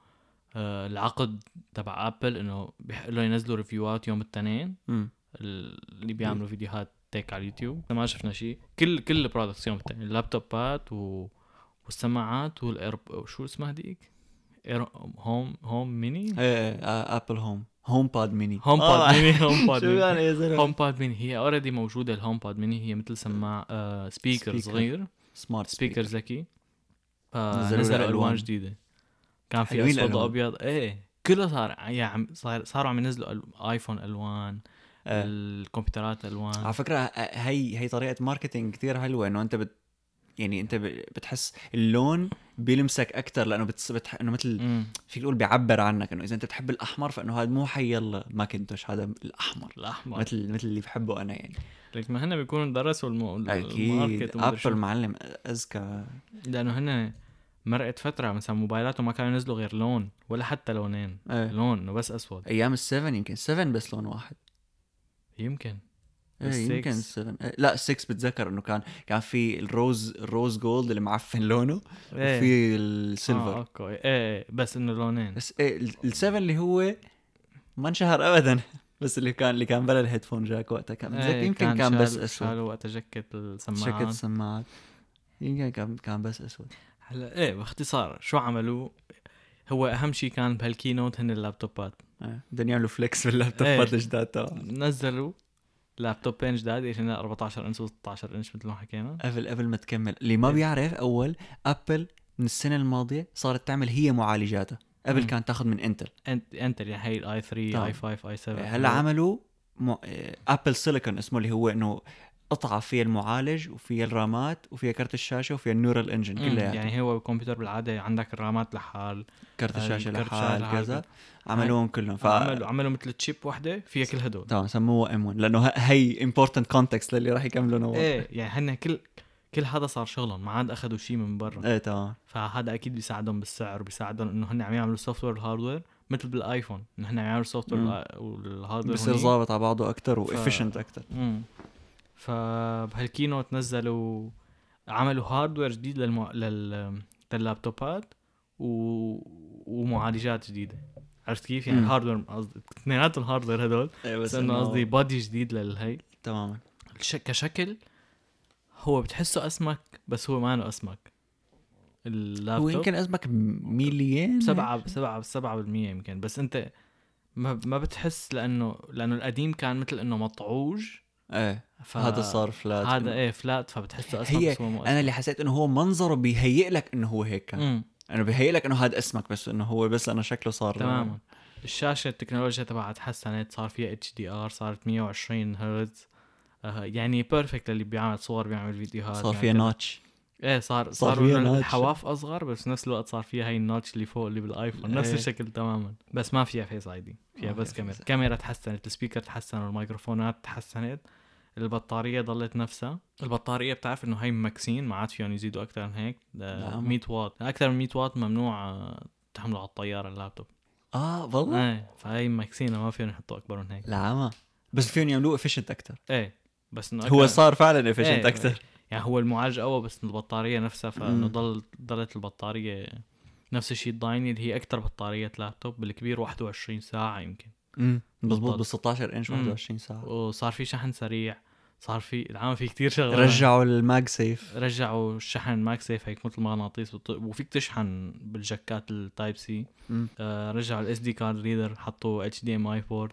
B: آه، العقد تبع ابل انه بيحق له ينزلوا ريفيوات يوم الاثنين
A: مم.
B: اللي بيعملوا فيديوهات تيك على اليوتيوب ما شفنا شيء كل كل البرودكتس يوم التاني اللابتوبات و... والسماعات والاير شو اسمها هذيك اير هوم هوم ميني
A: ايه إيه، آه، ابل هوم هوم باد ميني
B: هوم
A: آه،
B: باد ميني هوم باد
A: شو
B: ميني
A: يعني يا زلمه
B: هوم باد ميني هي اوريدي موجوده الهوم باد ميني هي مثل سماعه سبيكر
A: Speaker.
B: صغير
A: سمارت
B: سبيكر ذكي آه،
A: نزلوا
B: فنزلوا
A: له
B: الوان
A: ألوان.
B: جديده كان في
A: حلوين
B: اسود
A: الألوان.
B: وابيض ايه كله صار يا عم صار صاروا عم ينزلوا أل- ايفون الوان
A: آه.
B: الكمبيوترات الوان
A: على فكره آه، هي هي طريقه ماركتينج كثير حلوه انه انت بت يعني انت ب- بتحس اللون بيلمسك اكثر لانه بتس... بتح... انه مثل
B: مم.
A: فيك تقول بيعبر عنك انه اذا انت بتحب الاحمر فانه هذا مو حي يلا ماكنتوش هذا الاحمر
B: الاحمر
A: مثل مثل اللي بحبه انا يعني
B: لك ما هن بيكونوا درسوا المو...
A: اكيد
B: الماركت ومدري شو.
A: ابل معلم اذكى
B: لانه هن مرقت فتره مثلا موبايلاتهم ما كانوا ينزلوا غير لون ولا حتى لونين
A: ايه.
B: لون إنه بس اسود
A: ايام السفن يمكن 7 بس لون واحد
B: يمكن
A: إيه،
B: السكس.
A: يمكن 7 لا 6 بتذكر انه كان كان في الروز الروز جولد اللي معفن لونه
B: إيه.
A: وفي السيلفر
B: آه اوكي ايه ايه بس انه لونين
A: بس ايه ال7 اللي هو ما انشهر ابدا بس اللي كان اللي كان بلا الهيدفون جاك وقتها كان
B: إيه،
A: بتذكر يمكن كان, كان بس
B: شال-
A: اسود
B: شالوا وقتها جاكيت
A: شكل
B: السماعات
A: سماعات يمكن كان كان بس اسود
B: هلا ايه باختصار شو عملوا هو اهم شيء كان بهالكينوت هن اللابتوبات
A: إيه، بدهم يعملوا فليكس باللابتوبات
B: إيه.
A: الجداد تبعهم
B: نزلوا لابتوبين جداد اللي هن 14 انش و16 انش مثل ما حكينا
A: قبل قبل ما تكمل اللي ما
B: إيه.
A: بيعرف اول ابل من السنه الماضيه صارت تعمل هي معالجاتها قبل
B: مم.
A: كان تاخذ من انتل
B: انت انت اللي هي الاي 3
A: طبعاً.
B: اي 5 اي 7
A: هلا عملوا م... ابل سيليكون اسمه اللي هو انه قطعه فيها المعالج وفيها الرامات وفيها كرت الشاشه وفيها النورال انجن
B: مم،
A: كلها يعني
B: يعني هو الكمبيوتر بالعاده عندك الرامات لحال
A: كرت الشاشه
B: الكرت الشاشة
A: لحال
B: لحاله.
A: كذا عملوهم كلهم ف
B: إيه. عملوا عملوا مثل تشيب وحده فيها كل هدول
A: تمام سموها ام 1 لانه ه- هي امبورتنت كونتكست للي راح يكملون هو
B: ايه يعني هن كل كل هذا صار شغلهم ما عاد اخذوا شيء من برا
A: ايه تمام
B: فهذا اكيد بيساعدهم بالسعر بيساعدهم انه هن عم يعملوا سوفت وير والهاردوير مثل بالايفون انه هن عم يعملوا السوفت وير والهاردوير
A: بصير
B: هنيك.
A: ظابط على بعضه اكثر وافشنت اكثر
B: امم فبهالكينوت نزلوا عملوا هاردوير جديد للمو... لل... لللابتوبات و... ومعالجات جديده عرفت كيف؟ يعني
A: مم.
B: الهاردوير قصدي اثنيناتهم هاردوير هدول إيه، بس انه قصدي بادي جديد للهي
A: تماما
B: الش... كشكل هو بتحسه اسمك بس هو ما انه اسمك
A: هو
B: اللابتوب
A: يمكن ازمك مليان
B: سبعة سبعة سبعة بالمية يمكن بس انت ما ما بتحس لانه لانه القديم كان مثل انه مطعوج
A: ايه
B: ف...
A: هذا صار فلات
B: إيه، هذا ايه فلات فبتحسه اسمك
A: هي
B: بس هو مو
A: انا اللي حسيت انه هو منظره بيهيئ لك انه هو هيك كان
B: أسمك.
A: انا بهيئ لك انه هذا اسمك بس انه هو بس لانه شكله صار آه،
B: تماما الشاشه التكنولوجيا تبعها تحسنت صار فيها اتش دي ار صارت 120 هرتز آه، يعني بيرفكت للي بيعمل صور بيعمل فيديوهات يعني
A: صار
B: بيعمل
A: فيها
B: كده.
A: نوتش
B: ايه صار
A: صار
B: صار,
A: فيها
B: صار
A: نوتش.
B: الحواف اصغر بس نفس الوقت صار فيها هي النوتش اللي فوق اللي بالايفون نفس
A: إيه.
B: الشكل تماما بس ما فيها فيس اي دي فيها
A: ما
B: بس
A: فيها
B: كاميرا
A: Face ID.
B: الكاميرا تحسنت السبيكر تحسن الميكروفونات تحسنت البطارية ضلت نفسها البطارية بتعرف انه هي ماكسين ما عاد فيهم يزيدوا اكثر من هيك ده
A: نعم.
B: 100 واط اكثر من 100 واط ممنوع آه، تحمله على الطيارة اللابتوب
A: اه والله
B: ايه فهي ماكسينة ما فيهم يحطوا اكبر من هيك
A: العمى بس فيهم يعملوه افيشنت اكثر
B: ايه بس انه
A: هو
B: أكتر-
A: صار فعلا افيشنت
B: إيه.
A: اكثر
B: يعني هو المعالج قوى بس إنه البطاريه نفسها فانه
A: مم.
B: ضل ضلت البطاريه نفس الشيء الضاينه اللي هي اكثر بطاريه لابتوب بالكبير 21 ساعه يمكن
A: مم. مزبوط
B: بالضبط.
A: بال 16 انش
B: مم.
A: 21 ساعه
B: وصار في شحن سريع صار في العام في كتير شغلات
A: رجعوا الماج سيف
B: رجعوا الشحن ماك سيف هيك مثل مغناطيس بط- وفيك تشحن بالجاكات التايب سي
A: مم.
B: آه رجعوا الاس دي كارد ريدر حطوا اتش دي ام اي بورد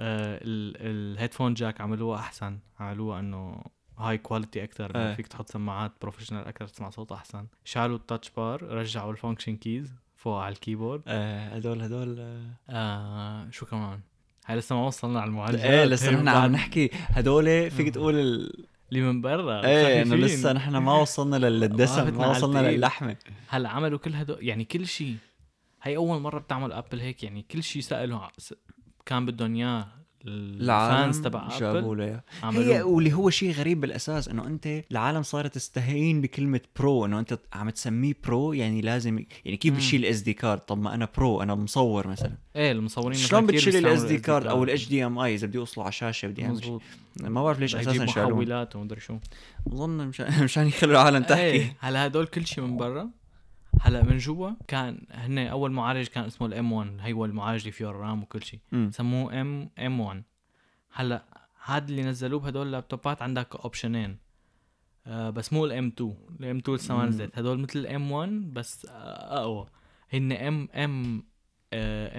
B: آه ال- الهيدفون جاك عملوها احسن عملوها انه هاي كواليتي اكثر
A: إيه.
B: فيك تحط سماعات بروفيشنال اكثر تسمع صوت احسن شالوا التاتش بار رجعوا الفانكشن كيز فوق على الكيبورد
A: آه، هدول هدول آه،
B: آه شو كمان هاي لسه ما وصلنا على المعالجات
A: ايه لسه
B: هي
A: نحن
B: إيه، بعد-
A: عم نحكي هدول فيك تقول ال...
B: اللي من برا
A: ايه انه
B: خفيفين.
A: لسه نحن ما وصلنا لل- للدسم
B: وقفتنا
A: ما
B: على
A: وصلنا
B: التقيل.
A: للحمه
B: هلا عملوا كل هدول يعني كل شيء هي اول مره بتعمل ابل هيك يعني كل شيء سالوا ع- س- كان بدهم اياه الفانز تبع
A: جابوا
B: ابل
A: له إياه. هي
B: عملوه
A: واللي هو شيء غريب بالاساس انه انت العالم صارت تستهين بكلمه برو انه انت عم تسميه برو يعني لازم يعني كيف
B: مم.
A: بتشيل الاس دي كارد طب ما انا برو انا مصور مثلا
B: ايه المصورين مثلاً
A: شلون
B: كتير
A: بتشيل
B: بيستعملوا
A: الاس دي كارد او
B: card.
A: الاتش دي ام اي اذا بدي اوصله على شاشه بدي اعمل شيء
B: مزبوط
A: ما بعرف ليش
B: بدها يجيب
A: اساسا شالوه
B: محولات ومدري شو
A: اظن مشان مشان يخلوا العالم تحكي
B: ايه هلا هدول كل شيء من برا هلا من جوا كان هن اول معالج كان اسمه الام 1 هي هو المعالج اللي فيه الرام وكل شيء
A: مم.
B: سموه ام ام 1 هلا هاد اللي نزلوه بهدول اللابتوبات عندك اوبشنين آه بس مو الام 2 الام 2 لسه ما
A: مم.
B: نزلت هدول مثل الام 1 بس آه اقوى هن آه، ام ام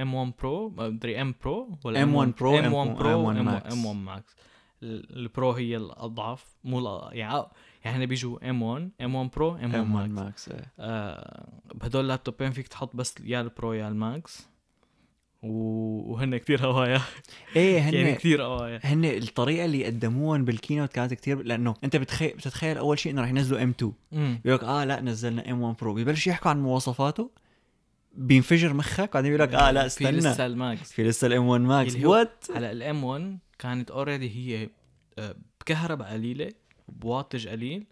B: ام 1 برو مدري ام برو ولا
A: M1 Pro،
B: ام 1 برو
A: M1
B: ام
A: Max.
B: 1 ماكس البرو هي الاضعف مو الأ- يعني يعني هن بيجوا ام 1 ام 1 برو ام 1
A: ام 1
B: ماكس
A: ماكس إيه.
B: آه بهدول اللابتوبين فيك تحط بس يا البرو يا الماكس و- وهن كثير هوايا
A: ايه
B: يعني
A: هن
B: كثير قوايا
A: هن الطريقه اللي قدموهم بالكينوت كانت كتير لانه انت بتخيل بتتخيل اول شيء انه رح ينزلوا ام 2 بيقول لك اه لا نزلنا ام 1 برو ببلش يحكوا عن مواصفاته بينفجر مخك بعدين بيقول لك اه لا
B: في لسه
A: استنى
B: الماكس
A: في لسه الام 1 ماكس
B: اللي هو-
A: وات
B: هلا الام 1 كانت اوريدي هي آه، بكهرباء قليله بواتج قليل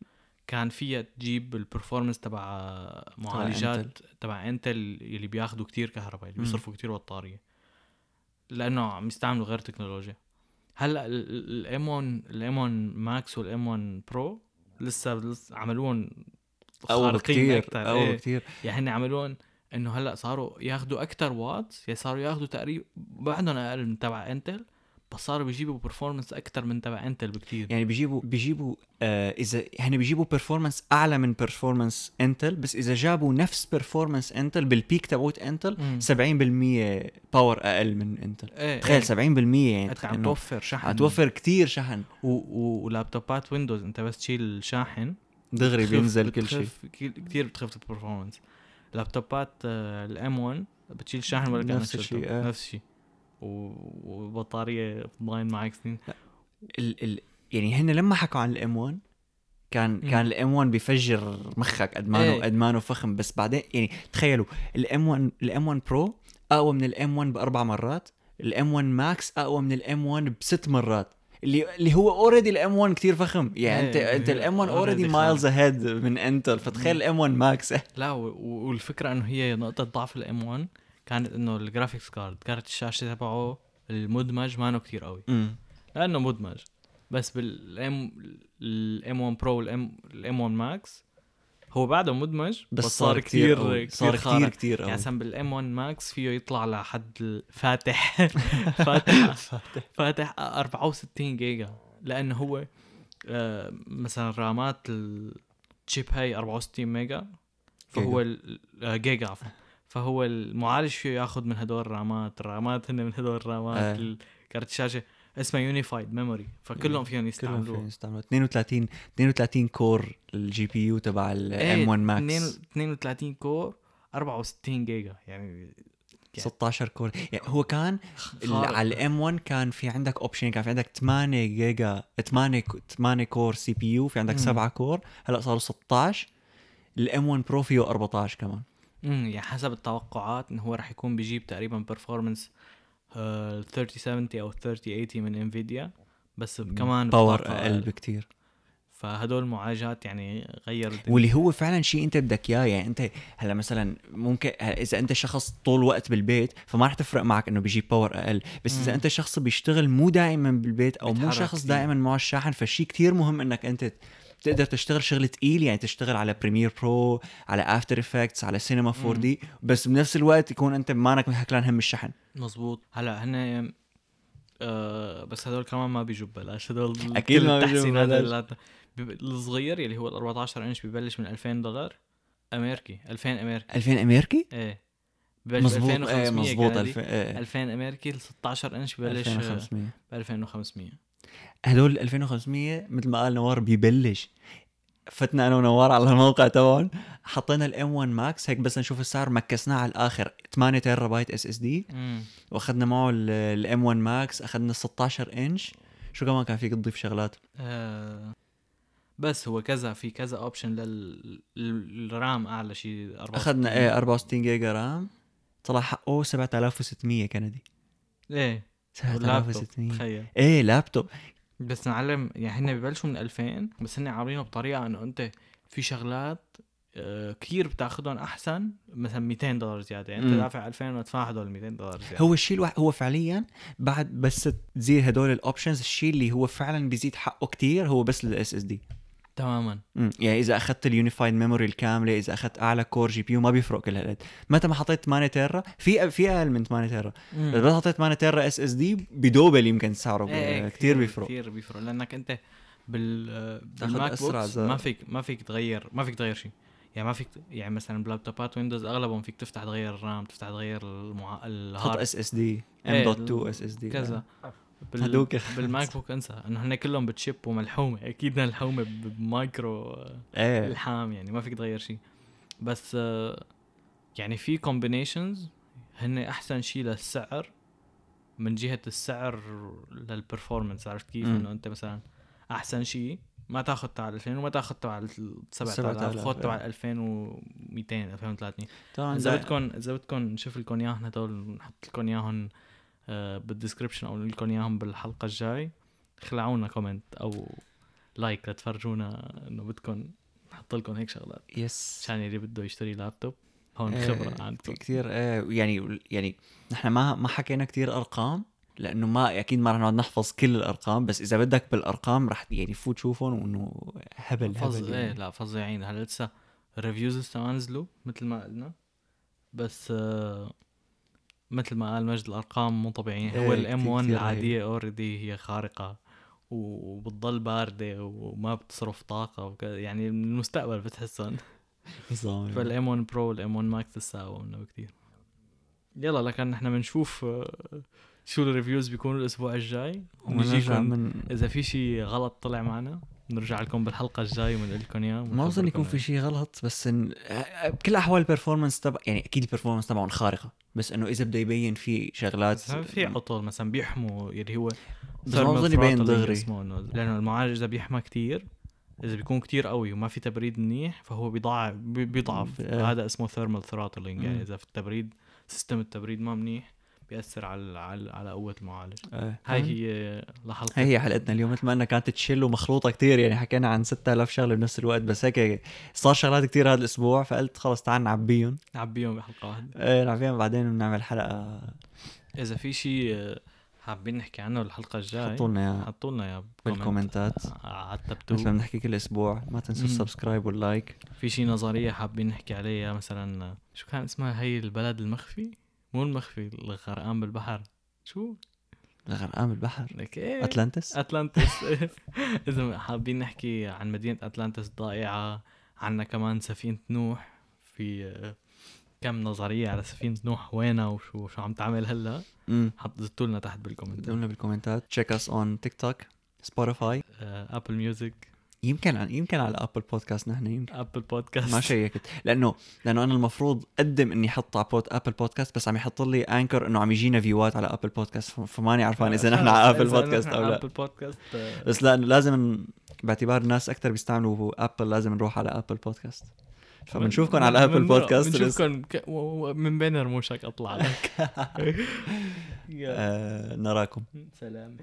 B: كان فيها تجيب البرفورمنس تبع آه، معالجات تبع انتل اللي بياخذوا كتير كهرباء اللي
A: مم.
B: بيصرفوا كتير بطاريه لانه عم يستعملوا غير تكنولوجيا هلا الام 1 الام 1 ماكس والام 1 برو لسه لسه عملوهم
A: قوي
B: خارقين
A: كثير
B: أكتر.
A: قوي
B: إيه.
A: كثير
B: يعني هن عملون انه هلا صاروا ياخذوا اكثر وات يعني صاروا ياخذوا تقريبا بعدهم اقل من تبع انتل بس صاروا بيجيبوا برفورمنس اكثر من تبع انتل بكثير
A: يعني بيجيبوا بيجيبوا آه اذا هن بيجيبوا بيرفورمانس اعلى من بيرفورمانس انتل بس اذا جابوا نفس بيرفورمانس انتل بالبيك تبعوت انتل
B: مم.
A: 70% باور اقل من انتل
B: ايه
A: تخيل 70% يعني
B: انت
A: تخيل
B: عم
A: إنه
B: توفر شحن
A: عم توفر كثير شحن
B: و... و... ولابتوبات ويندوز انت بس تشيل شاحن
A: دغري
B: بتخف-
A: بينزل كل شيء
B: بتخف- كتير بتخف البرفورمانس لابتوبات آه، الام 1 بتشيل شاحن ولا كانك
A: نفس الشيء،
B: شلته.
A: آه.
B: نفس الشيء و- وبطاريه ضاين معك سنين
A: ال ال يعني هن لما حكوا عن الام 1 كان
B: مم.
A: كان الام 1 بيفجر مخك ادمانه
B: إيه.
A: ايه. ادمانه فخم بس بعدين يعني تخيلوا الام 1 الام 1 برو اقوى من الام 1 باربع مرات الام 1 ماكس اقوى من الام 1 بست مرات اللي اللي هو اوريدي الام 1 كثير فخم يعني انت
B: إيه،
A: انت
B: إيه،
A: الام 1 اوريدي
B: already
A: مايلز اهيد من انتل فتخيل الام 1 ماكس
B: لا و- و- والفكره انه هي نقطه ضعف الام 1 كانت انه الجرافيكس كارد كارت الشاشه تبعه المدمج مانو كتير قوي لانه مدمج بس بالام الام 1 برو والام الام 1 ماكس هو بعده مدمج
A: بس صار كثير صار كثير
B: خارق.
A: كثير
B: يعني
A: قوي
B: مثلا بالام 1 ماكس فيه يطلع لحد الفاتح فاتح فاتح 64 جيجا لانه هو آه، مثلا رامات الشيب هاي 64 ميجا فهو ال- آه، جيجا عفوا فهو المعالج فيه ياخذ من هدول الرامات الرامات هن من هدول الرامات
A: آه.
B: ال- كارت الشاشه اسمه يونيفايد ميموري فكلهم فيهم
A: كلهم فيهم
B: يستعملوه
A: يستعملوا 32
B: إيه،
A: 32 كور الجي بي يو تبع الام 1 ماكس
B: 32 كور 64 جيجا يعني
A: 16 كور يعني هو كان ال-
B: خارق.
A: على الام 1 كان في عندك اوبشن كان في عندك 8 جيجا 8 ك- 8 كور سي بي يو في عندك
B: مم.
A: 7 كور هلا صاروا 16 الام 1 برو فيه 14 كمان
B: امم يعني حسب التوقعات انه هو راح يكون بيجيب آه، تقريبا برفورمانس 3070 او 3080 من انفيديا بس كمان
A: باور
B: بطاقة
A: اقل بكثير
B: فهدول المعالجات يعني غيروا الدنيا.
A: واللي هو فعلا شيء انت بدك اياه يعني انت هلا مثلا ممكن هلا اذا انت شخص طول الوقت بالبيت فما رح تفرق معك انه بيجيب باور اقل بس اذا
B: مم.
A: انت شخص بيشتغل مو دائما بالبيت او مو
B: بيتحرك
A: شخص
B: كتير.
A: دائما معه الشاحن فشيء كتير مهم انك انت تقدر تشتغل شغل تقيل يعني تشتغل على بريمير برو على افتر افكتس على سينما 4
B: مم.
A: دي بس بنفس الوقت يكون انت مانك هكلان هم الشحن
B: مزبوط هلا هن آه بس هدول كمان ما بيجوا ببلاش هدول
A: أكيد
B: كل
A: ما بيجوا
B: التحسينات
A: ببلاش.
B: اللي- بيب- الصغير اللي هو ال 14 انش ببلش من 2000 دولار امريكي 2000 امريكي
A: 2000 امريكي
B: ايه ببلش ب
A: مزبوط ايه
B: 2500
A: مزبوط
B: كندي.
A: 2000 ايه،
B: 2000 امريكي ال 16 انش ببلش آه،
A: 2500
B: ب 2500
A: هدول 2500 مثل ما قال نوار ببلش فتنا انا ونوار على الموقع تبعهم حطينا الام 1 ماكس هيك بس نشوف السعر مكسناه على الاخر 8 تيرا بايت اس اس دي
B: امم
A: واخذنا معه الام 1 ماكس اخذنا 16 انش شو كمان كان فيك تضيف شغلات
B: آه بس هو كذا في كذا اوبشن للرام اعلى شيء 64
A: اخذنا ايه 64 جيجا رام طلع حقه 7600 كندي
B: ايه واللابتوب
A: 7600
B: تخيل
A: ايه لابتوب
B: بس معلم يعني هن ببلشوا من 2000 بس هن عاملينه بطريقه انه انت في شغلات آه، كثير بتاخذهم احسن مثلا 200 دولار زياده يعني انت
A: مم.
B: دافع 2000 وادفع هدول 200 دولار زياده
A: هو الشيء الوحيد هو فعليا بعد بس تزيد هدول الاوبشنز الشيء اللي هو فعلا بيزيد حقه كتير هو بس الاس اس دي
B: تماما
A: مم. يعني اذا اخذت اليونيفايد ميموري الكامله اذا اخذت اعلى كور جي بي يو ما بيفرق كل هالقد متى ما حطيت 8 تيرا في في اقل من 8 تيرا بس بس حطيت 8 تيرا اس اس دي بدوبل يمكن سعره
B: إيه،
A: ايه كثير بيفرق
B: كثير بيفرق لانك انت بال آه،
A: تاخد
B: بالماك
A: أسرع
B: بوكس
A: زر.
B: ما فيك ما فيك تغير ما فيك تغير شيء يعني ما فيك يعني مثلا بلابتوبات ويندوز اغلبهم فيك تفتح تغير الرام تفتح تغير المع...
A: حط
B: الهارد
A: اس اس دي ام
B: إيه،
A: دوت 2 اس اس دي آه.
B: كذا بال...
A: هدوك
B: بالماك بوك انسى انه هن كلهم بتشيب وملحومه اكيد ملحومه بمايكرو آه،
A: ايه
B: الحام يعني ما فيك تغير شيء بس آه، يعني في كومبينيشنز هن احسن شيء للسعر من جهه السعر للبرفورمانس عرفت كيف
A: مم.
B: انه انت مثلا احسن شيء ما تاخذ تبع 2000 وما تاخذ تبع ال 7000
A: 7000
B: خذ تبع
A: إيه.
B: 2200 2300
A: طبعا
B: اذا
A: زي-
B: بدكم اذا بدكم نشوف لكم اياهم هدول نحط لكم اياهم آه، بالدسكربشن او نقول لكم اياهم بالحلقه الجاي خلعونا كومنت او لايك لتفرجونا انه بدكم نحط لكم هيك شغلات
A: يس
B: عشان اللي بده يشتري لابتوب هون
A: إيه،
B: خبره عندكم
A: كثير ايه يعني يعني نحن ما ما حكينا كثير ارقام لانه ما اكيد ما رح نقعد نحفظ كل الارقام بس اذا بدك بالارقام رح يعني فوت شوفهم وانه هبل
B: فظ
A: هبل
B: ايه
A: يعني.
B: لا فظيعين هلا لسه الريفيوز لسه ما نزلوا مثل ما قلنا بس آه، مثل ما قال مجد الارقام مو طبيعيين هو
A: إيه،
B: الام
A: كتير-
B: 1
A: كتير رهيب.
B: العاديه اوريدي هي خارقه و- وبتضل بارده وما بتصرف طاقه وك... يعني من المستقبل بتحسن
A: نظام.
B: فالام 1 برو والام 1 ماكس لسه اقوى منه بكثير يلا لكن نحن بنشوف آه، شو الريفيوز بيكونوا الاسبوع الجاي
A: ونرجع
B: ونجيكم
A: من
B: اذا في شيء غلط طلع معنا بنرجع لكم بالحلقه الجايه ونقول لكم اياه
A: ما اظن يكون في
B: ونخبركم
A: شيء غلط بس إن... آه، بكل الاحوال البرفورمانس تبع يعني اكيد البرفورمانس تبعهم خارقه بس انه اذا بده يبين في شغلات
B: إياه. بس في عطل مثلا بيحموا اللي هو
A: يعني. بس ما اظن
B: thermal
A: يبين
B: throttle اللي
A: دغري.
B: اسمه إنه- لانه المعالج اذا بيحمى كتير اذا بيكون كتير قوي وما في تبريد منيح فهو بيضعف بيضعف
A: إيه.
B: هذا اسمه ثيرمال ثروتلينج يعني
A: مم.
B: اذا في التبريد سيستم التبريد ما منيح بياثر على على, على قوه المعالج
A: آه.
B: هاي هي لحلقه
A: هي هي حلقتنا اليوم مثل ما انها كانت تشل ومخلوطه كتير يعني حكينا عن 6000 شغله بنفس الوقت بس هيك صار شغلات كتير هذا الاسبوع فقلت خلص تعال نعبيهم
B: نعبيهم بحلقه واحده
A: آه، نعبيهم بعدين بنعمل حلقه
B: اذا في شيء آه، حابين نحكي عنه الحلقه الجايه
A: حطوا لنا إياها
B: حطوا لنا يا
A: بالكومنتات
B: على التبتو
A: مثل ما بنحكي كل اسبوع ما تنسوا
B: مم.
A: السبسكرايب واللايك
B: في شي نظريه حابين نحكي عليها مثلا شو كان اسمها هي البلد المخفي مو المخفي الغرقان بالبحر شو
A: غرقان بالبحر
B: لك ايه
A: اتلانتس
B: اتلانتس اذا حابين نحكي عن مدينه اتلانتس ضائعه عنا كمان سفينه نوح في آه، كم نظريه على سفينه نوح وينها وشو شو عم تعمل هلا
A: امم
B: حط زتوا لنا تحت بالكومنت آه،
A: قولنا بالكومنتات تشيك اس اون تيك توك سبوتيفاي
B: ابل ميوزك
A: يمكن عن يمكن على ابل بودكاست نحن يمكن
B: ابل بودكاست
A: ما شيكت لانه لانه انا المفروض اقدم اني احط على بود ابل بودكاست بس عم يحط لي انكر انه عم يجينا فيوات على ابل بودكاست ف- فماني عرفان اذا نحن على ابل بودكاست او لا
B: ابل بودكاست آه،
A: بس لا لازم ن- باعتبار الناس اكثر بيستعملوا ابل لازم نروح على ابل بودكاست فبنشوفكم على
B: من-
A: ابل
B: من-
A: بودكاست الأس-
B: بنشوفكم ك- و- و- من بين رموشك اطلع لك يا
A: آه، نراكم
B: سلام